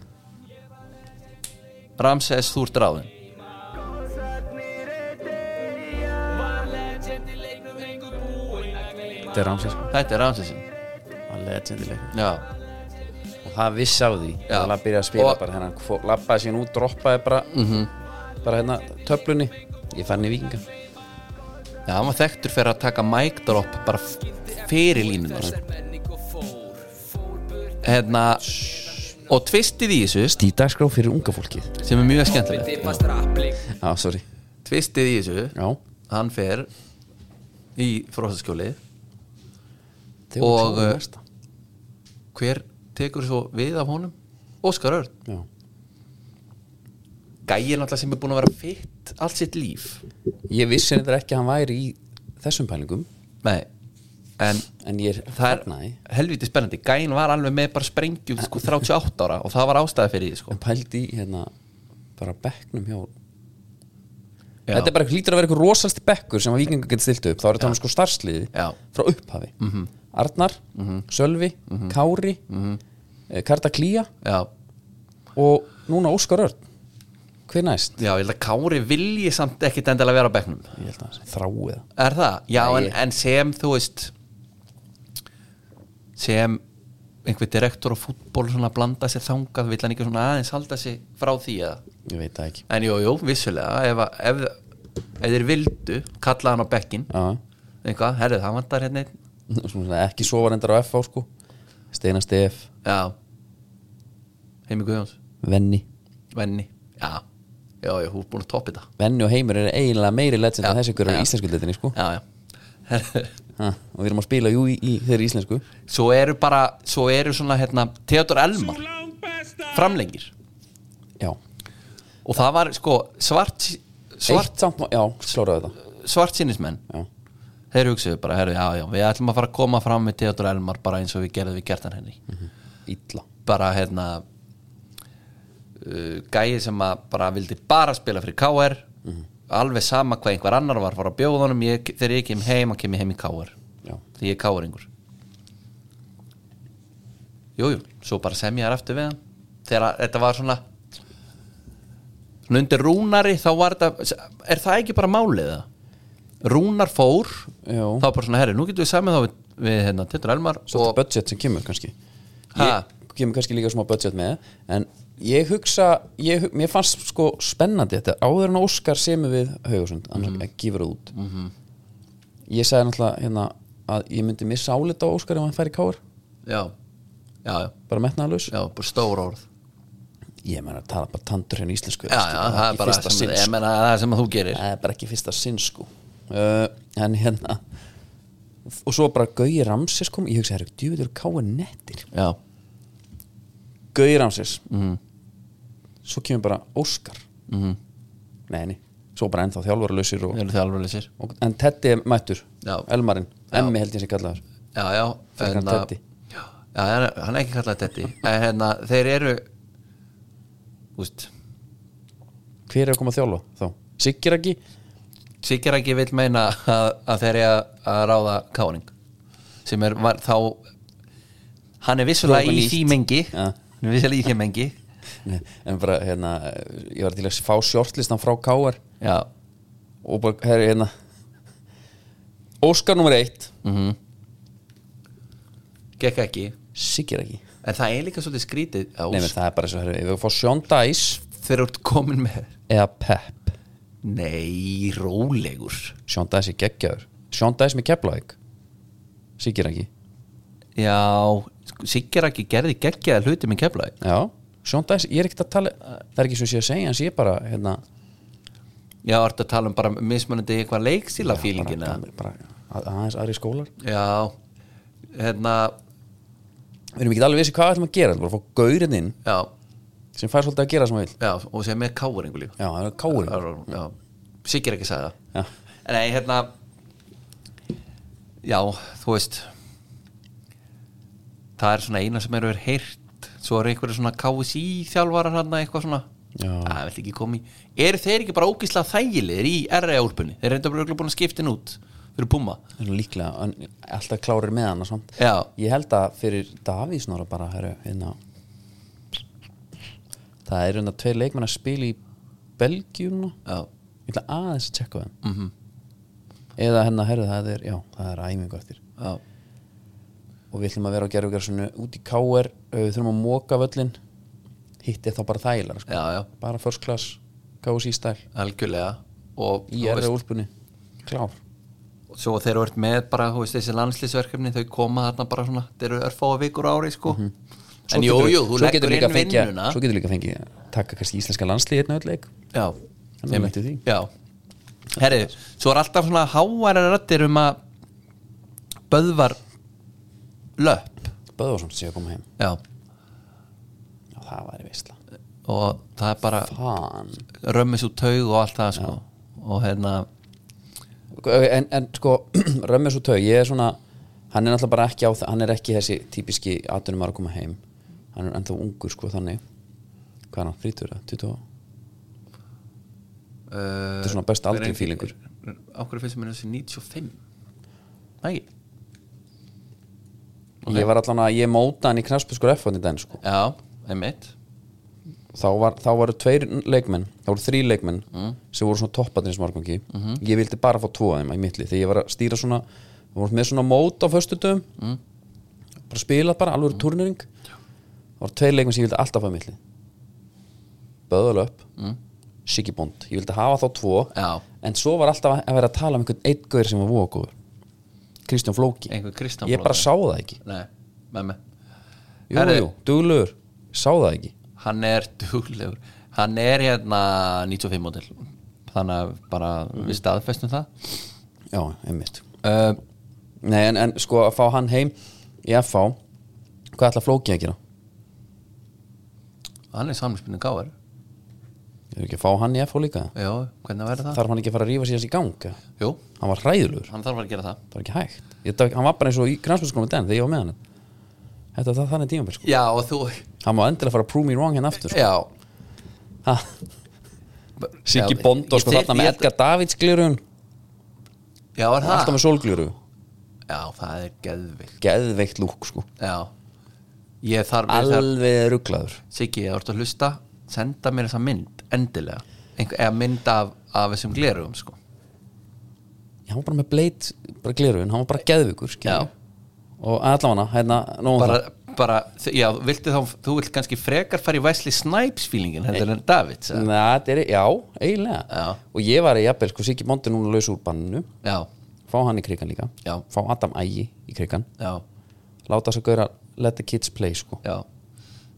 Ramses þú ert ráðin
Þetta er Ramses
þetta er Ramsesin
Það er legendileg
já,
Og það vissi á því
Já.
Það byrjaði að spila
Og- Mhm.
bara hérna fó- Lappaði sín út, droppaði bara -hmm. Bara hérna töflunni Ég fann í vikinga
já hann var þekktur fyrir að taka mic drop bara f- fyrir línuna hérna og tvistið í þessu
Stídagskrá fyrir unga fólkið
sem er mjög skemmtilegt
Já, sorry
tvistið í þessu
Já
hann fer í frósaskjóli
Þeir voru
Og,
klárir
uh,
næsta.
hver tekur svo við af honum Óskar Örn
Já,
gæin alltaf sem er búin að vera fitt allt sitt líf
Ég vissi þetta ekki að hann væri í þessum pælingum
nei en
En ég
það er
fagnaði
helviti spennandi gæin var alveg með bara sprengju sko, 38 ára og það var ástæða fyrir því sko.
En pældi í hérna Bara bekknum hjá
Já.
Þetta er bara hlýtur að vera eitthvað rosalst bekkur sem að vikingar getur stilt upp Þá er þetta hann sko starfsliði
Já. Mhm.
frá upphafi -hmm. Arnar, Sölvi, Kári mm -hmm. Karta Klía
já,
og núna Óskar Örn Hver næst?
já, ég held að Kári vilji samt ekkit endilega vera á bekknum
Ég held að þráu það
er það? Já,
Nei,
en,
ég-
en sem þú veist sem einhver direktor á fútból svona blanda sér þangað, vill hann ekki svona aðeins halda sig frá því eða
Ég veit það ekki
en jú, jú, vissulega ef, að- ef, ef þeir vildu, kalla hann á bekkin
Já,
eitthvað, herrið, hann vantar hérna einn.
Svona ekki sofa reyndar á FH sko Steina Stef,
já heimi Guðjóns
Venni
Venni Já, já, já, hún er búin að toppa þetta
Venni og Heimur er eiginlega meiri legend
Já,
en þessi ykkur er
já.
í íslensku letinni sko
Já, já
ha, og við erum að spila jú í, í þeirri íslensku
Svo eru bara, svo eru svona hérna Theodor Elmar, framlengir
Já,
Og það var sko svart Svart,
eitt samt, má- já, kláraðu þetta
svart sinnismenn
Já,
Þeir hugsaðu bara, herru, já, já, við ætlum að fara að koma fram með Theodor Elmar bara eins og við gerðum við Gertan henni
illa
Bara hérna uh, Gæi sem að bara vildi bara spila fyrir KR Alveg sama hvað einhver annar var fara að bjóða honum ég, Þegar ég kem heim, að kem ég heim í KR
Já,
því ég er káringur jújú, svo bara semja þær aftur við hann þegar að- þetta var svona svona undir rúnari þá var þetta, er það ekki bara málið það? Rúnar fór
Já.
þá bara svona herri, nú getum við samið þá við, við hérna, Tindur Elmar
svolítið
og,
budget sem kemur kannski
Ha?
ég, kemur kannski líka smá budget með en ég hugsa ég, hu- mér fannst sko spennandi þetta áður en Óskar semur við Haugasund annars
Mhm.
mm. gefur það út ég sagði náttúrulega hérna að ég myndi missa álita á Óskar ef hann færi káar
já, já, já,
bara metnaðalus
já, bara stór orð
ég meina að tala bara tandur hérna íslensku skilur,
já, já, það er
ekki
bara
fyrsta
sem,
sinn,
ég
sko.
meina, það er sem að þú gerir
það er bara ekki fyrsta sinn sko uh, en hérna og svo bara Gauji Ramses kom ég hugsa, herru, djúvitur káar nettir
já,
Gauði Ramses
Mhm.
svo kemur bara Óskar mm nei, nei, svo bara ennþá þjálfarlausir og,
það eru þið alveg leysir
og, en Teddy er mættur,
Já.
Elmarinn Emmi held ég sem kallaður
já, já,
Frekar
en að-
Teddy.
já, já, hann er- hann er ekki kallað Teddy en hérna, þeir eru úst,
hver er að koma að þjálfa þá? Siggir ekki?
Sigur ekki vil meina að, að þeir eru að ráða Káring sem er var, þá hann er vissulega
Prófa
í
nýtt.
því mengi
Ja.
hann er vissulega í því mengi
Nei, en bara, hérna, ég var til að fá sjortlistan frá K.R.
já,
og bara, herri, hérna Óskar nummer eitt
gekk ekki
Siggir ekki?
en það er líka svolítið skrítið á,
Nei, menn, það er bara svo, herri, ef við fá Sean Dice
þeir eru komin með
eða Pep
nei, rólegur
Sean Dice er geggjaður Sean Dice með Keflavík Siggir ekki?
já, Sigur ekki gerði geggjaða hluti með keflaði
Já, Sean Dice, ég er ekkert að tala það er ekki svo sé að segja, hans ég bara hérna,
já, ertu að tala um bara mismunandi eitthvað leiksíla fílingina
bara, bara að- aðeins aðri skólar
já, hérna
við erum ekki alveg vissi hvað við ætlum að gera við erum bara að fá gaurinn inn
já,
sem fær svolítið að gera sem hann vil
já, og sem er káringu líka
já, það er káurinn
já, sikir ekki að segja það
já.
Nei, hérna Já, þú veist Það er svona eina sem eru verið heyrt Svo eru einhverju svona KSI þjálfarar hérna eitthvað svona
Já.
Það vill ekki koma í Eru þeir ekki bara ógísla þægilegir í RA-úlpunni? Þeir reynda bara örugglega búin að skipta henni út fyrir Puma
Það er nú líklega en alltaf klárir með hann og samt
Já,
ég held að fyrir Davís Nóra bara heru, hérna það eru hérna tveir leikmenn að spila í Belgjum
já,
ég ætla aðeins að tjekka þeim mm
Mhm.
eða hérna herðu það er já, það er æfingu eftir
já,
og við ætlum að vera á gerfugarsunu út í KR uh, við þurfum að móka völlin hitt er þá bara þægilega sko.
já, já
bara first class, KSI stæl
Algjörlega Og
í
þú
erða
veist,
úlpunni, klár
svo þeir eru verið með bara, þú veist, þessi landslýsverkefni Þau koma þarna bara svona, þeir eru örfáa vikur á ári sko En jú, jú, þú
Mhm. svo getur
leggur
líka
inn
fengið-
vinnuna
svo getur líka fengið að taka kannski íslenska landslið einn öll leik
Já,
Þannig
Einmitt.
mætti því.
Já, herri, svo er alltaf svona háværa rættir um að Böðvar löpp
Böðvarsson sé að koma heim
Já,
já, það væri veistla
og það er bara
Pan.
römmis úr taug og allt það sko. og hérna,
en, en sko, Römmis og Tau ég er svona, hann er náttúrulega bara ekki á það hann er ekki þessi típiski atunum að koma heim hann er ennþá ungur sko þannig hvað er hann, 30, 20
uh,
þetta er svona best aldrei fílingur
Á hverju finnst mér þessi 95? Nei,
ég var allan að, ég móta hann í knaspuskur F-fóndin den sko
já, einmitt
þá, var, þá varu tveir leikmenn þá voru þrý leikmenn
Mm.
sem voru svona toppatrins margangi
Mhm.
ég vildi bara fá tvo af þeim í mittli þegar ég var að stýra svona við vorum með svona mót á föstudum
Mm.
bara spilað bara, alveg mm. turnering þá voru tveir leikmenn sem ég vildi alltaf fá í mittli Böðal upp mm. Siggy Bond, ég vildi hafa þá tvo
Já.
en svo var alltaf að vera að tala um einhvern einn gaur sem var vókuður Kristján Flóki
Einhver Kristján
ég bara
Flóki.
sá það ekki
Nei, með mig
jú,
Herri.
jú, duglegur, sá það ekki
hann er duglegur hann er hérna 95 model þannig að bara
Mm.
við staðfestum það
já, einmitt
uh,
Nei, en, en sko að fá hann heim í FH hvað ætla flókið að gera?
hann er samlingsbyrnu gáður
Eru ekki að fá hann í FH líka?
já, hvernig verður það?
Þarf hann ekki að fara að rífa sér í gang? eða?
jú,
Hann var hræðilegur,
hann þarf að gera það
það var ekki hægt ég, það, Hann var bara eins og í grannsmjöldskomi den þegar ég var með hann Þetta var það þannig tíma sko.
já, og þú
Hann má endilega fara að prove me wrong hérna aftur sko.
já,
Ha, Siggi
Já,
Bondó
ég
sko
til-
þarna með
ég-
Edgar Davids glirun
já, er
Alltaf
það?
með sólgliru
já, það er geðvikt
Geðveikt lúk sko
já, ég þarf mér þar
Alveg rugglaður
Siggi, ég vart að hlusta senda mér þessa mynd, endilega Einhver, eða mynd af, af þessum glerugum sko.
Hann var bara með bleit bara glirun Hann var bara geðveikur
Já.
skilur. Og allavega hérna nóg um
bara,
það.
bara, já, viltu þá þú vilt kannski frekar fara í Wesley Snipes fílingin heldur en Davids eða?
Nei, þetta er, já, eiginlega
Já.
Og ég var í jafnvel, sko, Siggi Mondi núna laus úr banninu
já,
Fá hann í krigan líka
Já.
Fá Adam Ægi í krigan
já
Láta þess að gauðra let the kids play, sko
Já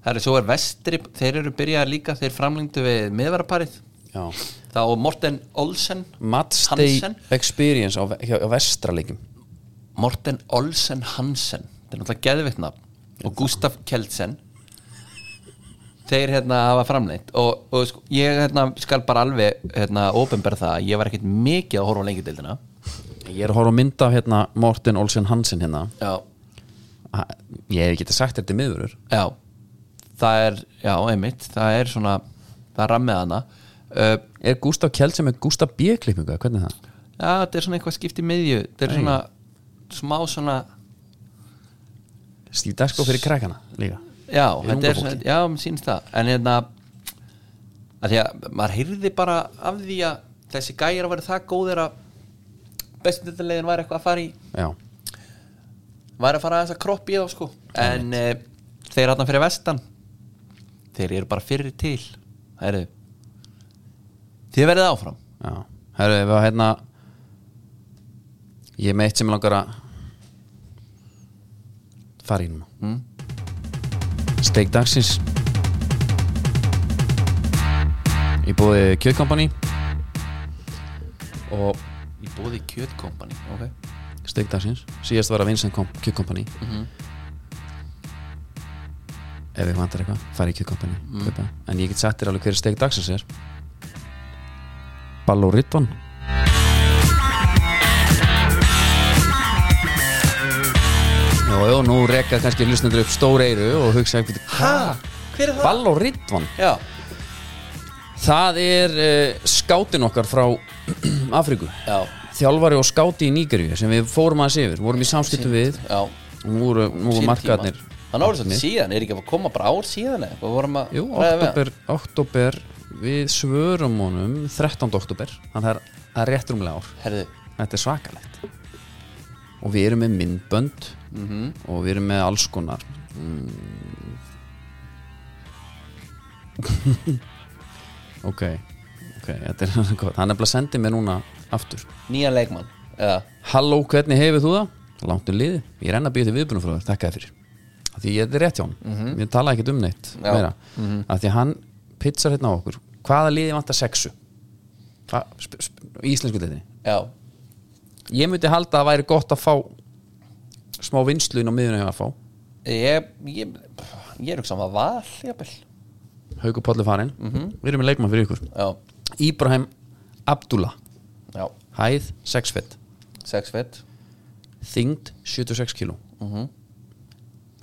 Það er svo er vestri, þeir eru byrjað líka þeir framlengdu við miðvaraparið
Já
þá Morten Olsen
Mats Day
Hansen.
Experience á, hjá, á vestralegjum
Morten Olsen Hansen þetta er náttúrulega geðvitt nafn og Gustaf Kjeldsen þeir hérna hafa framlengt og, og sko, ég hérna skal bara alveg hérna ofinberð það, að ég var ekkert mikið að horfa lengi deildina
Ég er að horfa á mynd af hérna Morten Olsen Hansen hérna
Já,
ha, Ég hef getið sagt þetta miðurur
já það er, já, einmitt, það er svona það er rammið hana uh,
Er Gustaf Kjeld sem er Gustaf B. klippinga? Hvernig er það?
Já, þetta er svona eitthvað skipt í miðju þetta er
Nei.
svona smá svona
Stíf Dasko fyrir krakkana líka
já,
Í
þetta
unga
er svona,
fólki.
já, mér sýnst það en hérna að því að maður heyrði bara af því að þessi gæjar að vera það góðir að bestundlegin væri eitthvað að fara í
Já,
væri að fara aðeins að kroppi í þá sko en e, þeir hann fyrir vestan þeir eru bara fyrir til Heyrðu. þið verðið áfram
já Herru, við var hérna Ég er með eitt sem mig langar að fara í núna Steik dagsins Ég búið kjökkampani og
Í bóði kjötkompani Ok
steikdagsins síðast var að Vincent kom Q Company ef þið vantar eitthvað farið í Q Company mm. en ég get sett þér alveg hverju steikdagsins er Balló Ritvan Jó, jó, nú rekka kannski hlustendur upp stór eiru og hugsa
Ha? Hver er það?
Balló Ritvan
Já
það er uh, skátin okkar frá Afríku
Já
þjálfari og skáti í Nígeríu sem við fórum aðeins yfir, vorum í samskiptum við
Já
og nú voru, nú voru
Sýn
markaðnir
tíma. Það náður svolítið síðan Er ekki að koma bara ár síðan eða Hvað vorum að
Jú,
ræða við hann?
oktober, oktober við svörum honum 13. oktober þannig að það er- það er rétt rúmlega ár
Herðu
þetta er svakalegt og við erum með myndbönd og við erum með alls konar mm. ok ok, þetta er gott hann er bara sendið mér núna aftur
Nýjan leikmann Eða
Halló, hvernig hefur þú það? Langt um liði, ég renna að býja til viðbunum frá þér, þakka þér fyrir Af Því ég er rétt hjá hann, mm -hmm. ég tala ekkert um neitt
Já.
meira, af því að hann pizzar hérna á okkur, hvaða liði vantar sexu? Hva, sp, sp, í íslensku liðinni
Já
Ég myndi halda að það væri gott að fá smá vinslu inn á miðunum að fá
Ég Ég, ég er hugsa um að val Jafnvel
Hauku Pálli farinn, við erum með leikmann fyrir ykkur
Já
Íbrahim Abdullah,
Já
hæð 6 fett
Sex fett
þyngd 76 kíló mm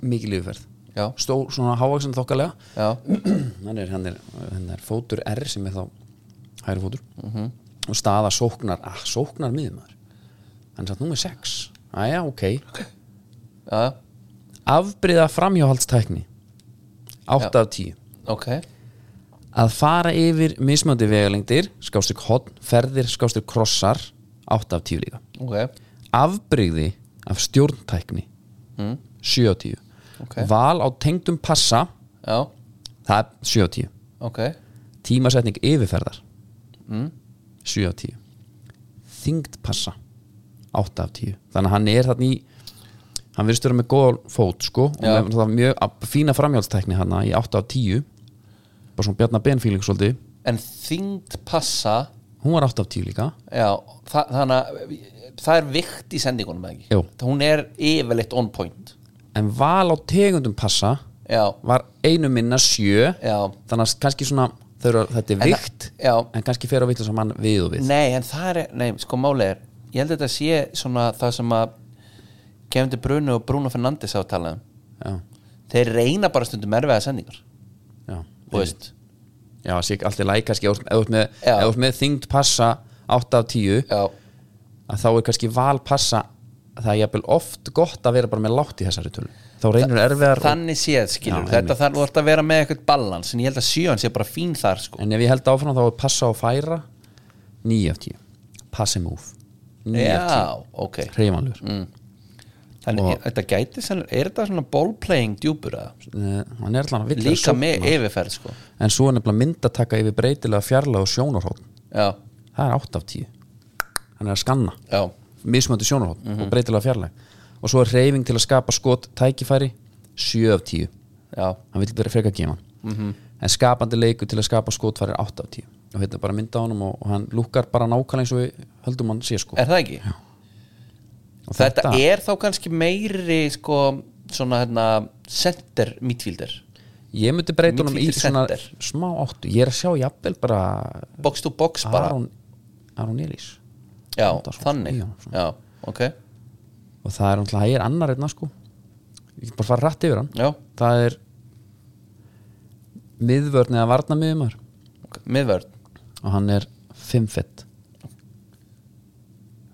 mikil yfirferð
Já.
stór svona hávaksin þokkalega
Já
hann, er, hann, er, hann er fótur R sem er þá hægri fótur og staða sóknar ah, sóknar miðumar hann er satt númer 6 aðja ok
Já
afbriða framhjáhaldstækni 8 af 10
Ok
að fara yfir mismöndi vegalengdir skástrík hotn, ferðir, skástrík krossar 8 af 10 líka
Ok
afbrigði af stjórntækni mm. 7 á 10
Ok.
val á tengdum passa
Já
það er 7 á 10
Ok
tímasetning yfirferðar mm. 7 á 10 þyngd passa 8 af 10 þannig að hann er þarna í hann virðist vera með góð fót sko og
Já.
með það mjög að fína framhjálstækni hann í 8 af 10 bara svona Bjarnar Benfíling svolítið
En þyngd passa
hún var 8 af 10 líka
Já, þa þannig að það er vikt í sendingunum eða ekki
Jú.
Það- Hún er yfirleitt on point
en val á tegundum passa
Já,
var einu minna 7
já
þannig að kannski svona þau eru, þetta er
En
vikt
það- já.
en kannski fer á vitlega sem hann við og við
Nei, en það er, nei, sko máli er Ég held að þetta sé svona það sem að Kevin De Bruyne og Bruno Fernandes hafa talað um
já,
Þeir reyna bara stundum erfiða sendingar
já,
Þú veist,
já sé, allt er læg kannski ef þú ert- ef þú ert með,
Já.
ef þú ert með þyngd passa 8 af 10
já,
að þá er kannski val passa það er jafnvel oft gott að vera bara með látt í þessari tölu þá reynir erfiðar og,
þannig séð skilur
Já,
Þetta þarf þú ert að vera með eitthvað balans En ég held að sjöan sé bara fín þar sko
en ef ég held áfram þá er passa og færa 9 af 10 passi move 9 af
Já, ok
10 hreyfanlur mm.
Þannig, er- þetta gæti, senn- er þetta svona ballplaying djúpur að
hann er allan að vilja
Líka með yfirferð sko
en svo er nefnilega myndataka yfir breytilega fjarlag og sjónarhótt
Já,
það er 8 af 10 hann er að skanna
já
mismöndi sjónarhótt
Mhm.
og breytilega fjarlag og svo er hreyfing til að skapa skot tækifæri 7 af 10
Já,
hann vil vera frekar geman
Mhm.
en skapandi leiku til að skapa skotfæri er 8 af 10 og þetta er bara mynda á honum og, og hann lukkar bara nákvæmlega eins og við höldum hann sé sko
er það ekki?
og
Þetta, er þá kannski meiri sko, svona hérna center midfielder,
ég myndi breyta honum í
Midfielder
svona
center.
smá áttu ég er að sjá jafnvel bara
box to box bara
Aron, Aron Elís
Já,
Andarsson,
þannig
já, Ah, svona.
Já, ok,
og það er náttúrulega, það er annar einna sko ég get bara fara rætt yfir hann
já,
það er miðvörn eða varnamiðumar
ok, miðvörn
og hann er 5 fett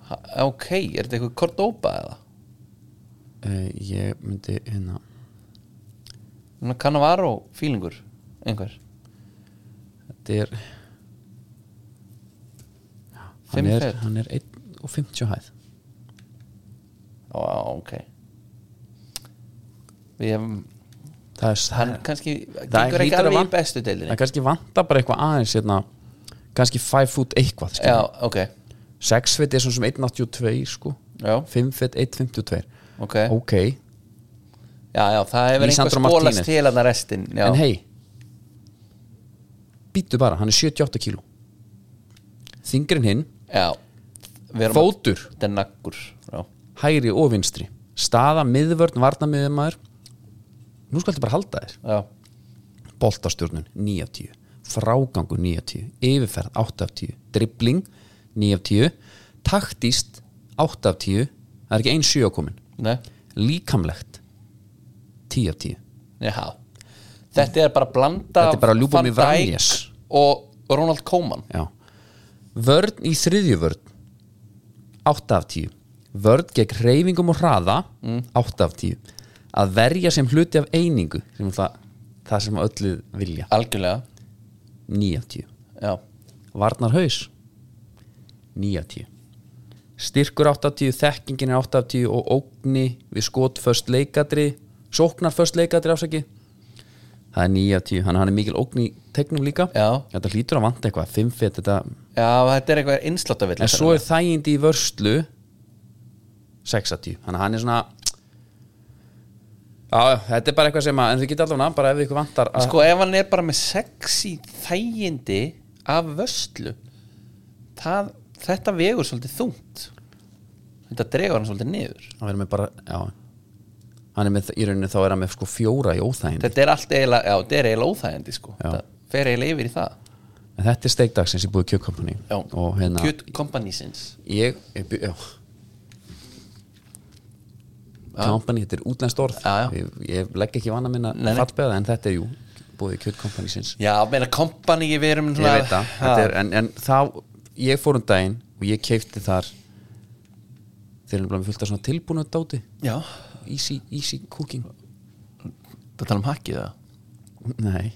Ha, Ok, er þetta eitthvað Cordoba eða?
uh, ég myndi hérna
Svona Cannavaro fílingur einhver,
þetta er hann
Fimm
er,
fet.
hann er 1 og 50 hæð
já, ok Við hefum,
það er, það,
hann kannski
það
gengur ekki
hlýtur að
alveg í
vant-
bestu
það
deildinni
er kannski vanta bara eitthvað aðeins hérna, kannski 5 foot eitthvað
Já, ok,
6 fit er svona sem 182 sko.
já,
5 fit 152
ok
ok,
Já, já, það hefur einhver
Lisandro
spólast
Martínez.
til hann að restin já.
en hei býtu bara, hann er 78 kíló þingrin hinn
já, við erum-
Fótur,
Þetta er naggur já.
hægri og vinstri Staða, miðvörn, varnamiðumæður Nú skaltu bara halda þér
Já.
Boltastjórnun, 9 af 10 Frágangur, 9 af 10 Yfirferð, 8 af 10 Dribbling, 9 af 10 Taktist, 8 af 10 Það er ekki ein 7 komin
Nei.
Líkamlegt, 10 af 10
Já. Þetta er bara blanda
Þetta er bara
af
Ljúbomir
Van Dijk
Vranjes.
Og Ronald Koeman
Já Vörn í þriðju vörn 8 af 10 Vörn gegn reyfingum og hraða 8 af 10 Að verja sem hluti af einingu sem er það, það sem öllu vilja
Algjörlega
9 af 10
Já.
Varnar haus 9 af 10 Styrkur 8 af 10, þekkingin er 8 af 10 og ógni við skotföst leikadri sóknarföst leikadri ásaki það er 9 af 10 þannig að hann er mikil ógni í tegnum líka
Já.
þetta hlýtur að vanta eitthvað 5 fet þetta
Já, þetta er eitthvað einsláttavill
en svo er þægindi í vörslu 60 þannig að hann er svona já, já, þetta er bara eitthvað sem að en þið geta allavega bara ef ykkur vantar að
Sko ef hann er bara með sexy þægindi af vöslu það, þetta vegur svolítið þungt þetta dregur hann svolítið niður
hann verður með bara, já hann er með, í rauninni þá er hann með sko fjóra í óþægindi
þetta er allt eiginlega, já þetta er eiginlega óþægindi sko,
Já.
þetta fer eiginlega yfir í það
en þetta er steikdagsins í búið kjökkompani
já.
og hérna
Kjöt kompanísins
ég, ég by- já Company, þetta er útlenskt orð
Já, já.
Ég, ég legg ekki vana minna
Nei, nei.
fallbeða en þetta er jú búið kjötkompani síns
já, meina kompaní við erum
ég veit það, þetta er, en, en þá ég fór um daginn og ég keipti þar þeir eru með fullt af svona tilbúna dáti
já,
easy, easy cooking
það tala um hakkið það
nei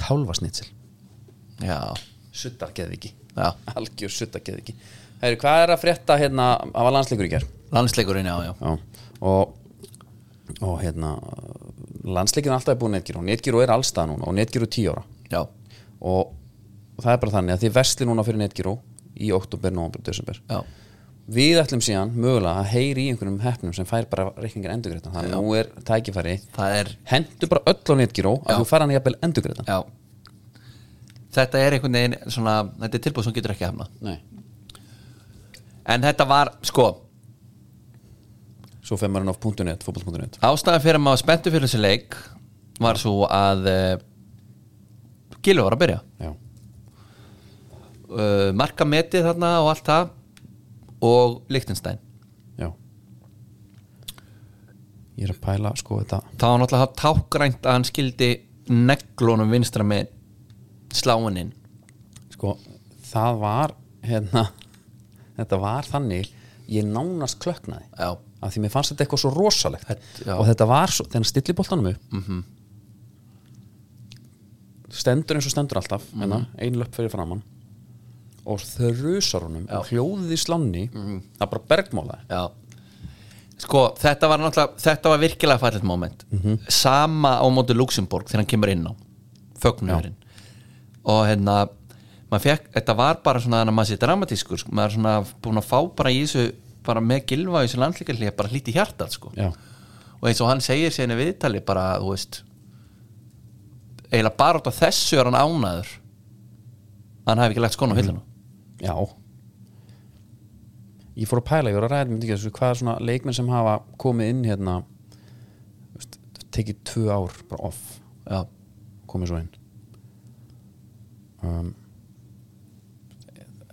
kálfasnitsel
já,
suttargeðviki
já,
algjör suttargeðviki Heyru, hvað er að frétta hérna af að landsleikur í gerð
landsleikurinn já, já
Já, og, og hérna landsleikin er alltaf búið netgíru og netgíru er allstað núna og netgíru er 10 ára
já,
og, og það er bara þannig að þið vesli núna fyrir netgíru í oktober, november, desember
já,
Við ætlum síðan mögulega að heyri í einhverjum hefnum sem fær bara reikningar endurgréttan þannig að nú er tækifæri
það er
hendur bara öll á netgíró
Já.
að þú fær hann jafnvel endurgréttan
já þetta er einhvern veginn svona, þetta er tilbúð sem getur ekki hafna
Nei.
en þetta var, sko,
Svo fer maður hann á .net, fótboll.net
ástæðan fyrir að maður spenntu fyrir þessi leik var svo að uh, Gilvi var að byrja
Já,
uh, markametið þarna og allt það og Lichtenstein
já Ég er að pæla sko þetta
það var náttúrulega tákrænt að hann skildi neglunum vinstra með sláininn
sko, það var hérna, þetta var þannig ég nánast klöknaði
Já.
af því mér fannst þetta eitthvað svo rosalegt
Þetta- já. Mhm.
og þetta var svo, þegar hann stilli boltanum upp mm stendur eins og stendur alltaf
Mhm.
mm einu löpp fyrir framann og þrjusar honum og hljóðið í slánni
Mhm.
það bara bergmálaði
Já Sko, þetta var náttúrulega, þetta var virkilega fallet moment
Mhm.
Sama á móti Luxemburg þegar hann kemur inn á Fögnurinn Og hérna, maður fekk, þetta var bara svona þannig að maður sé dramatískur sko. Maður er svona búin að fá bara í þessu bara með gilva í þessu landlíkarlíða bara hlíti hjartað sko
já,
og eins og hann segir sérna viðtali bara, þú veist eiginlega bara út af þessu er hann ánaður að hann hafi ekki lagt skona
Mhm.
á hillinu
já ég fór að pæla, ég voru að ræða myndi ekki þessu, hvað er svona leikmenn sem hafa komið inn hérna þú veist, tekið tvö ár bara off
Já,
komið svo inn um,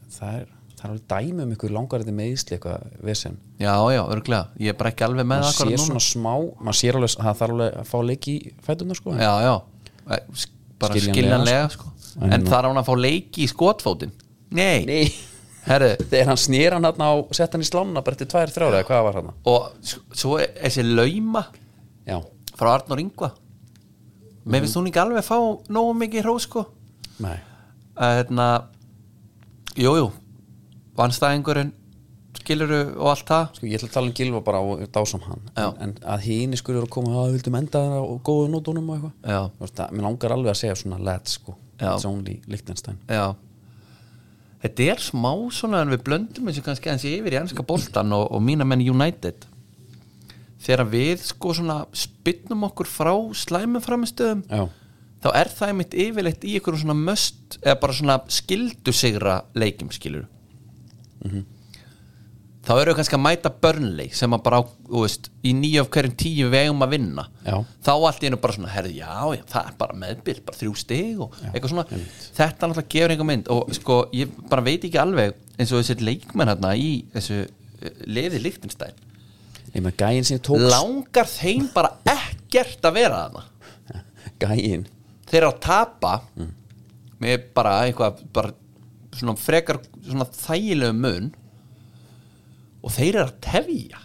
það er það er alveg dæmi um ykkur langarði meðisli eitthvað vesen
já, já, örglega ég er bara ekki alveg með
maður
akkúrat
sér svona smá, maður sér alveg það þarf alveg að fá leik í fætunar sko
já, já Eh, sk- bara
Skiljanlega,
skiljanlega sko. en,
En-
þar á hann að fá leiki í skotfótin nei,
nei,
herru
þegar hann snýr hann hann á sett hann í slána bara eftir tvær þrjára eða hvað var hann
og s- svo er þessi lauma
já,
frá Arnur Ingva mér finnst hún ekki alveg fá nógu mikið hró sko
nei,
að hérna jújú, vannstæðingurinn skiluru og allt það
sko ég ætla að tala um Gilva bara og dásam hann,
Já.
en, en að hini skurður að koma að vildum enda það á góðu nótunum og eitthvað
já,
Þú veist að- mér langar alveg að segja svona let's sko,
Já.
it's only Lichtenstein
já þetta er smá svona en við blöndum þessu kannski eins yfir í ennska boltan og, og mína menn United þegar við sko svona spynnum okkur frá slæmum framistöðum
já,
þá er það einmitt yfirleitt í einhverjum svona möst eða bara svona skildusigra leikjum skilur þá eru þau kannski að mæta börnleik sem að bara, á, þú veist, í nýju af hverjum tíu vegum að vinna
Já.
þá allt í einu bara svona, herði, já, já, það er bara meðbyr bara þrjú stig og eitthvað svona þetta náttúrulega gefur einhver mynd og sko, ég bara veit ekki alveg eins og þessi leikmenn hérna í þessu eh, liði líktinstæl
ég með gæin sem tók
langar þeim bara ekkert að vera þarna
gæin
þeir eru að tapa með bara eitthvað bara svona frekar svona þægilegu mun og þeir eru að tefja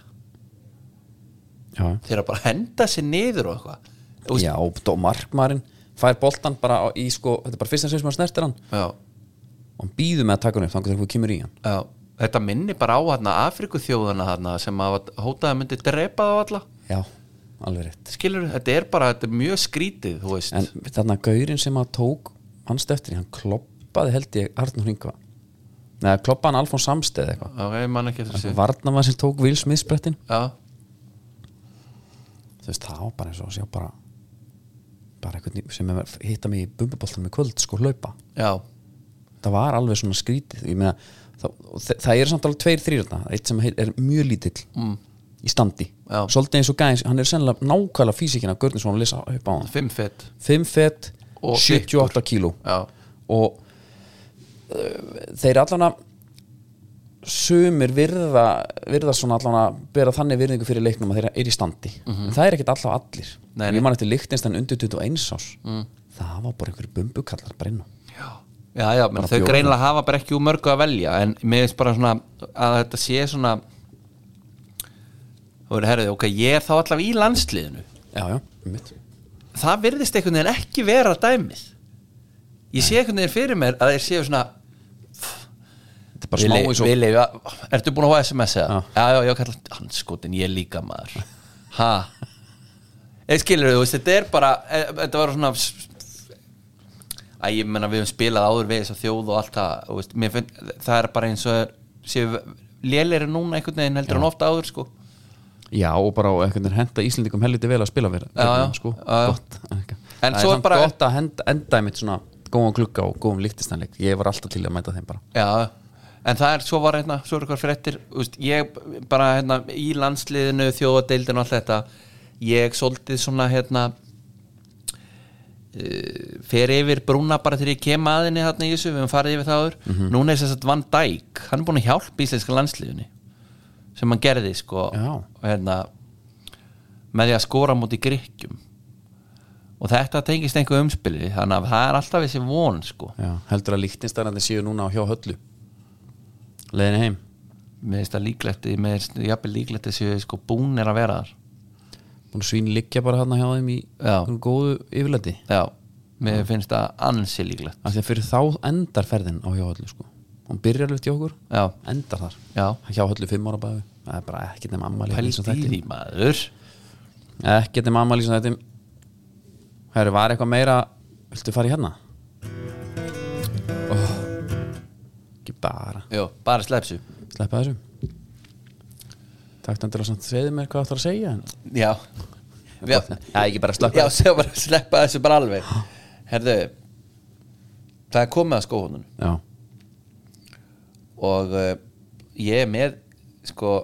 já,
þeir eru bara að henda sér niður og eitthvað Þú veist-
já og markmarin fær boltan bara á- í sko þetta er bara fyrsta sem sem hann snertir hann
já,
og hann býður með að taka hann upp þannig að það kemur í hann
já. þetta minni bara á hérna, Afrikuþjóðana hérna, sem að hótaði myndi drepa þá alla
já, alveg rétt
skilur, þetta er bara þetta er mjög skrítið þú veist,
en þarna gaurinn sem að tók hans stöttir, hann kloppaði held ég Arnur Hringva neða kloppaði hann Alfons Samsteð eitthvað
ok, ég man ekki eftir þessu
varnamaður sem tók Will Smith sprettin
já,
þú veist, það var bara eins og að sjá bara bara eitthvað sem er, hitta mig í bumbuboltanum í kvöld, sko, hlaupa
já, það
það var alveg svona skrítið ég meina, það, og þe- það er samt alveg tveir þrýrna eitt sem heit- er mjög lítill mm. í standi,
Já.
svolítið eins og gæðins hann er sennilega nákvæmlega físikina af Görnir sem hann lesa upp á hann
er fimm fett
5 fett,
Og
78 kíló
já,
og uh, þeir allan að sumir virða, virða svona allan að bera þannig virðingu fyrir leiknum að þeirra er í standi en það er ekkert alltaf allir
Mhm. Nei, nei. Mm.
ég man eftir Lichtenstein undir 21 ás það var bara einhverju bumbukallar bara inn á
Já, já, menn,
Bara
þau
bjóða.
greinilega hafa bara ekki úr mörgu að velja en mér finnst bara svona að þetta sé svona þú verður herrið, ok, ég er þá allavega í landsliðinu
já, já, mitt
það virðist einhvern veginn ekki vera dæmið ég sé einhvern veginn fyrir mér að þeir séu svona
þetta er bara smá eins og
við leifu, ertu búin að fá SMS eða?
Já.
Já, já, já, kallar, hann skotin, ég er líka maður ha eða skilur þú veist, þetta er bara e, þetta var svona að ég menna við höfum spilað áður við þess að þjóð og allt það, þú veist, mér finn það er bara eins og er, séu lélir núna einhvern veginn heldur hann ofta áður sko
já, og bara og einhvern veginn henda Íslendingum helviti vel að spila verið
Já, já,
sko,
já, já.
gott
En
það er
svo
samt
bara-
gott að henda, enda einmitt svona góðan glugga og góðan líktistanleik ég var alltaf til að mæta þeim bara
Já, en það er, svo var hérna, svo er eitthvað fréttir, þú veist, ég bara hérna í landsliðinu, þjóðadeildinu og allt þetta, ég svolítið svona hérna uh, fer yfir brúna bara þegar ég kem að henni þarna í þessu, við höfum farið yfir það áður núna er þess að Van Dijk, hann er búin að hjálpa íslenska landsliðinu sem hann gerði sko
Já.
hérna, með því að skora múti grikkjum og þetta tengist einhver umspili þannig að það er alltaf þessi von sko
Já, heldur að líktinstærandi séu núna á hjá höllu leiðinu heim
mér finnst það líklegt mér finnst jafnvel líklegt þessi sko búnir að vera þar
búin að svín liggja bara hérna hjá þeim í
Já.
einhverju góðu yfirleiti
já, mér finnst það ansi líklegt
af því að fyrir þá endar ferðin á hjá höllu sko. hún byrjar alveg til okkur
já,
endar þar,
já,
hjá höllu fimm ára bæðu það er bara ekkert nema ammali
pældi í því maður
ekkert nema ammali sem þetta herru, var eitthvað meira viltu fara í hérna? Oh. ekki bara
já, bara slepsu
sleppa þessu takk endilega samt segðu mér hvað þú ætlar að segja hérna. en
já, já,
Já, ekki bara slökka
já segja bara sleppa þessu bara alveg herðu það er komið að skóhónun
Já,
og uh, ég er með sko,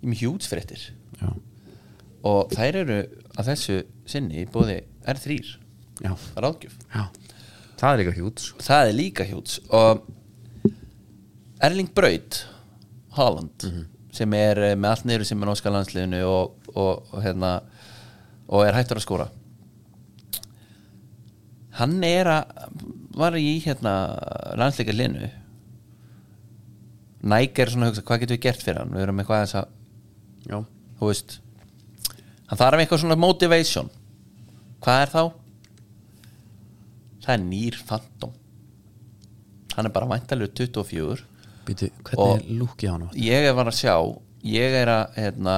ég er með hjútsfréttir
já,
og þær eru að þessu sinni bóði R3
já,
ráðgjöf
já. Það er líka hjút sko.
það er líka hjúts og Erling Braut Haaland sem er eh, með allt neyru sem er norska landsliðinu og, og, og, hérna, og er hættur að skora hann er að var í hérna landsleika linu Nike er svona að hugsa hvað getum við gert fyrir hann við erum eitthvað aðeins að
Já,
þú veist hann þarf eitthvað svona motivation hvað er þá? það er nýr fantóm hann er bara væntalur 24
býtu, hvernig
Og-
er lúkið á hann?
ég er var að sjá ég er að hérna,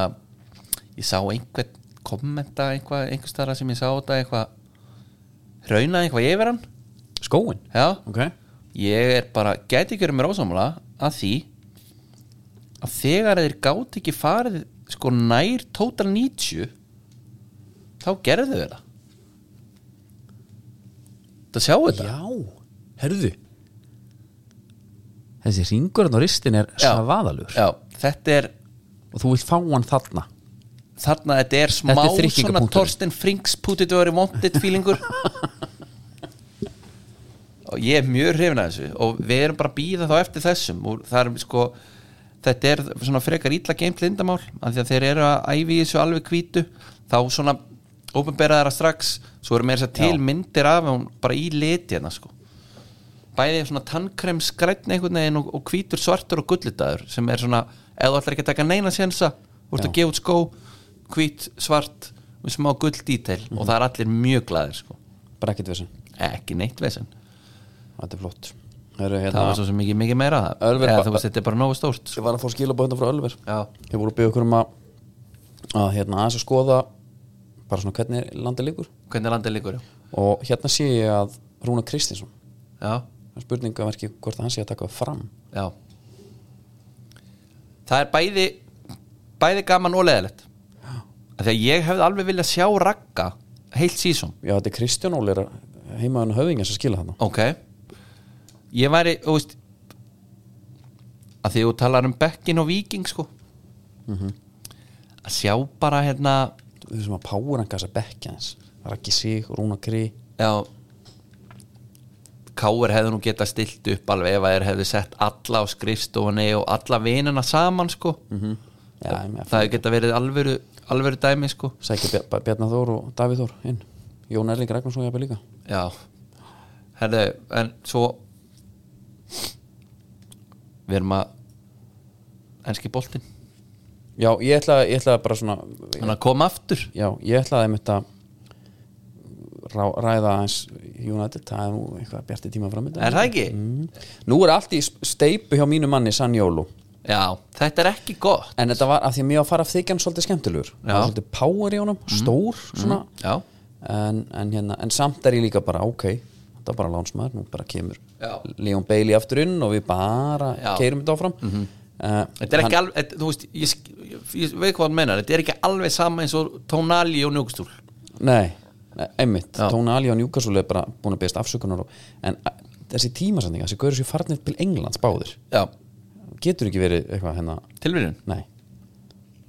ég sá einhvern kommenta einhvað, einhver starra sem ég sá þetta eitthvað raunaði eitthvað yfir hann
Skóin?
já,
Ok
ég er bara gæti ekki verið mér ósamlega að því að þegar þeir gáti ekki farið sko nær total 90 þá gerðu þeir það Þetta sjá þetta
Já, herðu Þessi ringurinn á ristin er
Já.
svaðalur
Já, þetta er
og þú vilt fá hann þarna
þarna þetta er smá
Þetta er
svona
þrykkingapunkturinn.
Torsten Frings pútitvöri wanted feelingur og ég er mjög hrifin að þessu og við erum bara að býða þá eftir þessum og það er sko þetta er svona frekar ítla geimt lindamál af því að þeir eru að æfi í þessu alveg hvítu þá svona ofinberaðara strax svo eru meira þess að segja til myndir af hún bara í liti hérna sko bæði svona tannkrem skrætn einhvern veginn og, og hvítur svartur og gullitaður sem er svona, ef þú ætlar ekki að taka neina sénsa, þú ert
Já.
að gefa út skó hvít, svart og smá gull detail
Mhm.
og það er allir mjög glæðir sko.
bara ekkert vissin,
ekki neitt vesen,
þetta er flott Heru,
það var
hérna,
svo sem ekki mikið meira að það
Ölver
eða
ba-
þú veist, þetta er bara nógu stórt sko.
Ég var að fá skilabóð hérna frá Ölver
já,
Ég voru að byggja okkur um að, að hérna, aðeins að skoða bara svona hvernig landið liggur
hvernig landið líkur já,
og hérna sé ég að Rúna Kristinsson
já,
það er spurningaverki hvort að hann sé að taka fram
já það er bæði bæði gaman og leðilegt því að ég hefði alveg viljað sjá ragga heilt sísón
Já, þetta er Kristján Óli er heimaðan höfðingja sem skila þarna
ok ég væri, þú veist að því þú talar um Bekkin og Víking sko að sjá bara hérna
Við sem að páranga þessa bekkja hans Raki Sig, Rúna Kri
já Káur hefði nú getað stilt upp alveg ef að þeir hefði sett alla á skrifstofunni og alla vinina saman sko
Já, ég með
það hefði getað verið alvöru, alvöru dæmi sko
Sækja Bjarnar Þór og Davíð Þór inn Jón Erling Ragnarsson jafnir líka
Já Herðu, en svo við erum að enski boltinn
Já, ég ætla, ég ætla bara svona
hann að koma aftur
Já, ég ætlaði einmitt að rá, ræða aðeins United, það er nú eitthvað bjarti tíma framöndan
Er það ekki?
Nú er allt í steipu hjá mínu manni Sanjólu
Já, þetta er ekki gott
En þetta var af því að mér var að fara af þykjan svolítið skemmtilegur Það var Svolítið power í honum,
Mhm.
stór svona
Já,
en, en, hérna, en samt er ég líka bara, ok Þetta er bara lánsmaður, nú bara kemur
Já.
Leon Bailey aftur inn og við bara
Já. Mhm.
keirum þetta áfram mm -hmm.
þetta er ekki alveg þetta- Þú veist, ég, sk- ég, ég veit hvað hann menar Þetta er ekki alveg sama eins og tónali og njúkstúl
Nei, nei, einmitt
Já.
Tóna Ali og Newcastle er bara búin að beðast afsökunar og, en a- þessi tímasendinga, þessi gaurur sér farnir til Englands báðir
Já,
getur ekki verið eitthvað hérna
tilvíðun
nei,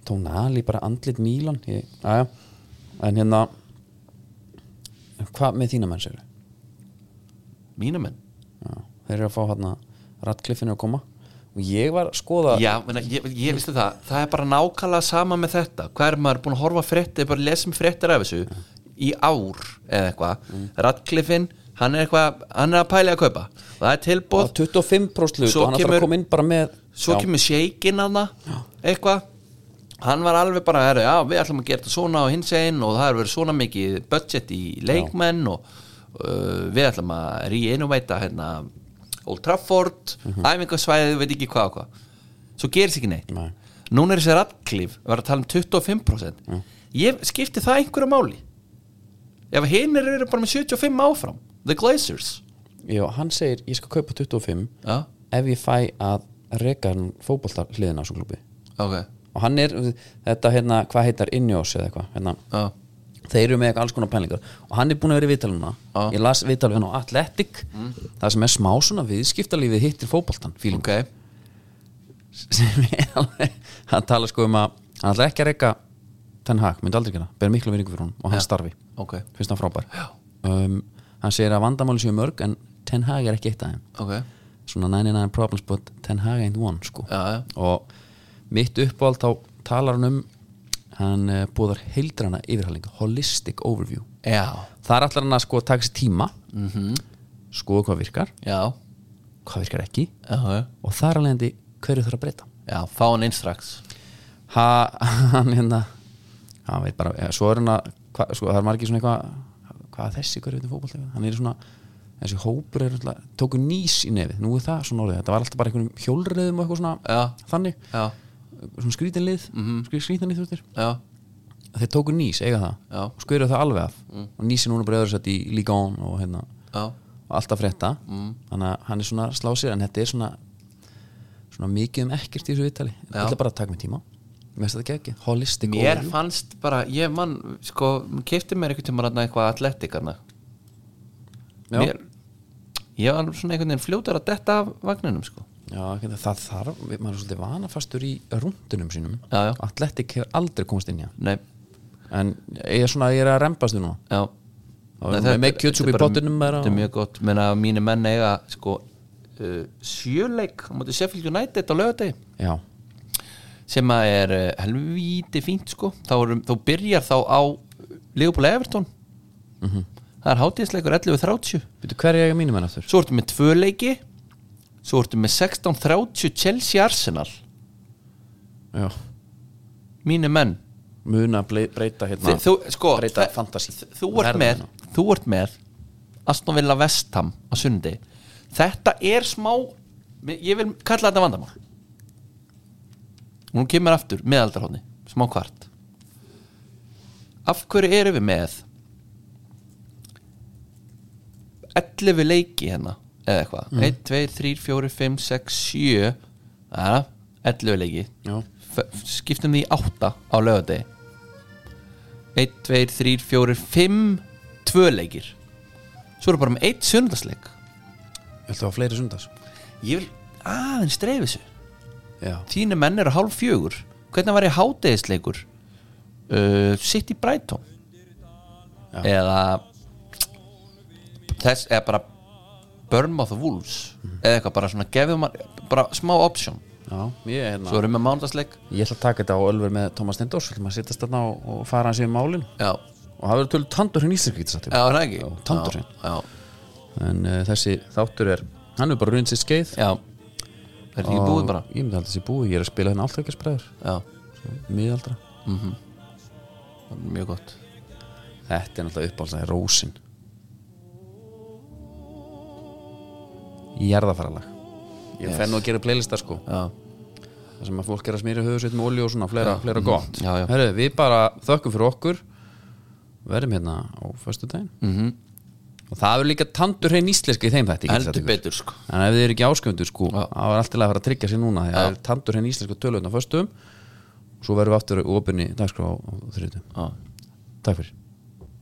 Tóna Ali bara andlit Mílan ég, aðja, en hérna en hvað með þína menn sér
Mínu menn
þeir eru að fá hérna Radcliffinu að koma og ég var að skoða
Já, menna, ég, ég vistu það, það er bara nákvæmlega sama með þetta Hvað er maður búin að horfa á fréttir, bara lesum fréttir af þessu Í ár eða eitthvað mm. hann er eitthvað, hann er að pæla í að kaupa Það er tilbúð,
að 25% hlut
Svo
og hann ætlar
kemur-
að koma inn bara með
svo
Já,
kemur sheikin að það eitthvað hann var alveg bara að já, við ætlum að gera þetta svona og hins einn og það er verið svona mikið budget í leikmenn og uh, við ætlum að reinnovata hérna Old Trafford,
Mhm.
æfingasvæði veit ekki hvað og hvað, svo gerist ekki neitt
Nei.
núna er þessi ratklif var að tala um 25% ég skipti það einhverju máli ef hinn eru bara með 75 áfram The Glazers
já, hann segir, ég skal kaupa 25
já,
ef ég fæ að reka hann fótbolta hliðina á svo klubi
ok,
og hann er, þetta hérna, hvað heitar Ineos eða eitthvað, hérna
já,
þeir eru með eitthvað alls konar pælingar og hann er búin að vera í viðtaluna
Já.
ég las viðtalið hann á Athletic það sem er smá svona viðskiptalífið hittir fótboltan fíling
ok
sem er alveg, hann tala sko um að hann ætla ekki að reka Ten Hag, myndi aldrei gera, ber miklu veringu fyrir hún og hann starfi,
ok,
finnst hann frábær um, hann segir að vandamáli séu mörg en Ten Hag er ekki eitt af þeim
ok
svona 99 problems but Ten Hag ain't one sko
Já, já.
og mitt uppáld þá talar hann um hann uh, búðar heildrana yfirhalingu holistic overview
já,
þar ætlar hann að sko taka sér tíma mm
Mhm.
-hmm. sko hvað virkar,
já,
hvað virkar ekki
já,
og þar alvegandi hverju þarf að breyta
já, fá hann inn strax
ha, hann hérna hann veit bara, ja, svo er hann að hva, sko, það er margir svona eitthvað hvað er þessi hverju veitum fótbolta hann er í svona, þessi hópur er alltaf, tóku nýs í nefið, nú er það svona orðið þetta var alltaf bara einhverjum hjólriðum og eitthvað svona
Já.
þannig,
já,
svona skrítinlið mm -hmm. skrítinlið þurftir,
já,
þeir tóku nýs eiga það,
Já. Mm.
og skuruðu það alveg af og nýsi núna bara öðru sett í Ligón og hérna,
já,
og alltaf frétta mm. þannig að hann er svona að slá sér en þetta er svona svona mikið um ekkert í þessu viðtali,
Já.
þetta er bara að taka mig tíma Mér finnst þetta ekki holistic
mér
overview.
fannst bara ég mann, sko, kefti mér einhvern tíma rann eitthvað atletikana
Já.
mér, ég var alveg svona einhvern veginn fljótur að detta af vagninum sko.
Já, ekki, það þarf, við- maður er svolítið vanafastur í rúndunum sínum
Já, já.
Atletik hefur aldrei komast inn í hann
nei,
En ég er svona, ég er að rempast þú núna
já
Já, með- með kjötsúpu í
þetta er bara-
pottinum bara
þetta er
og-
mjög gott, menna mínu menn eiga sko, uh, sjöleik á móti Sheffield United á lögadegi
Já,
sem að er uh, helvíti fínt sko þá, erum, þá byrjar þá á Leopold Everton það er hátíðisleikur 11.30
veitu hver er ég að mínum enn aftur?
svo ertu með tvö leiki svo ertu með 16.30 Chelsea Arsenal
Já,
mínu menn
muna blei- breyta
Þi,
hérna
þú, sko,
Breyta
þe-
fantasy hérna.
þ- þú, ert með, þú ert með Aston Villa Vestham á sundi þetta er smá ég vil kalla þetta vandamál og hún kemur aftur meðaldarhóðni, smá kvart af hverju erum við með 11 leiki hérna eða eitthvað,
Mm.
1, 2, 3, 4, 5, 6, 7 aða, 11 leiki
Já.
F- skiptum því í 8 á lögadegi 1, 2, 3, 4, 5 2 leikir svo eru bara með 1 sunnudagsleik
Viltu hafa fleiri sundas?
ég vil aðeins dreif þessu
Já,
þínu menn eru hálf fjögur hvernig var ég hátegisleikur uh, sitt í Brighton
Já.
eða þess eða bara Bournemouth og Wolves eða eitthvað bara svona gefið maður bara smá option
já, ég er hérna
svo erum við mánudagsleik
Ég ætla að taka þetta á Ölver með Tómas Stendors Þú ætlum að sittast þarna og, og fara hans yfir málin
já,
Og það verður tölur tandurinn íslensk getur sagt
já,
þér.
er það ekki
Já, tandurinn.
já,
En uh, þessi þáttur er, hann er bara rundt sér skeið
já, það er þetta ekki búið bara
Ég myndi alltaf þessi búið, ég er að spila hérna alltaf ekki spræður
já,
Miðaldra
það er mjög gott
Þetta er náttúrulega uppáhaldsaði rósin Jarðafaralag Ég yes. fenn nú að gera playlista sko
já
Það sem að fólk er að smýra höfusveit með olju og svona Fleira, fleira gott
Já, já.
Herru, Við bara þökkum fyrir okkur Verðum hérna á föstu daginn -hmm. Og það er líka tandur hrein íslenska í þeim þetta
Mm-hmm. heldur betur sko
En ef þið eru ekki ásköndur sko
Já.
Það var alltaf að fara að tryggja sér núna Þegar það er tandur hrein íslenska tölvöðna föstum Svo verðum við aftur opinni dagskrá á, á þriðutum
já.
Takk fyrir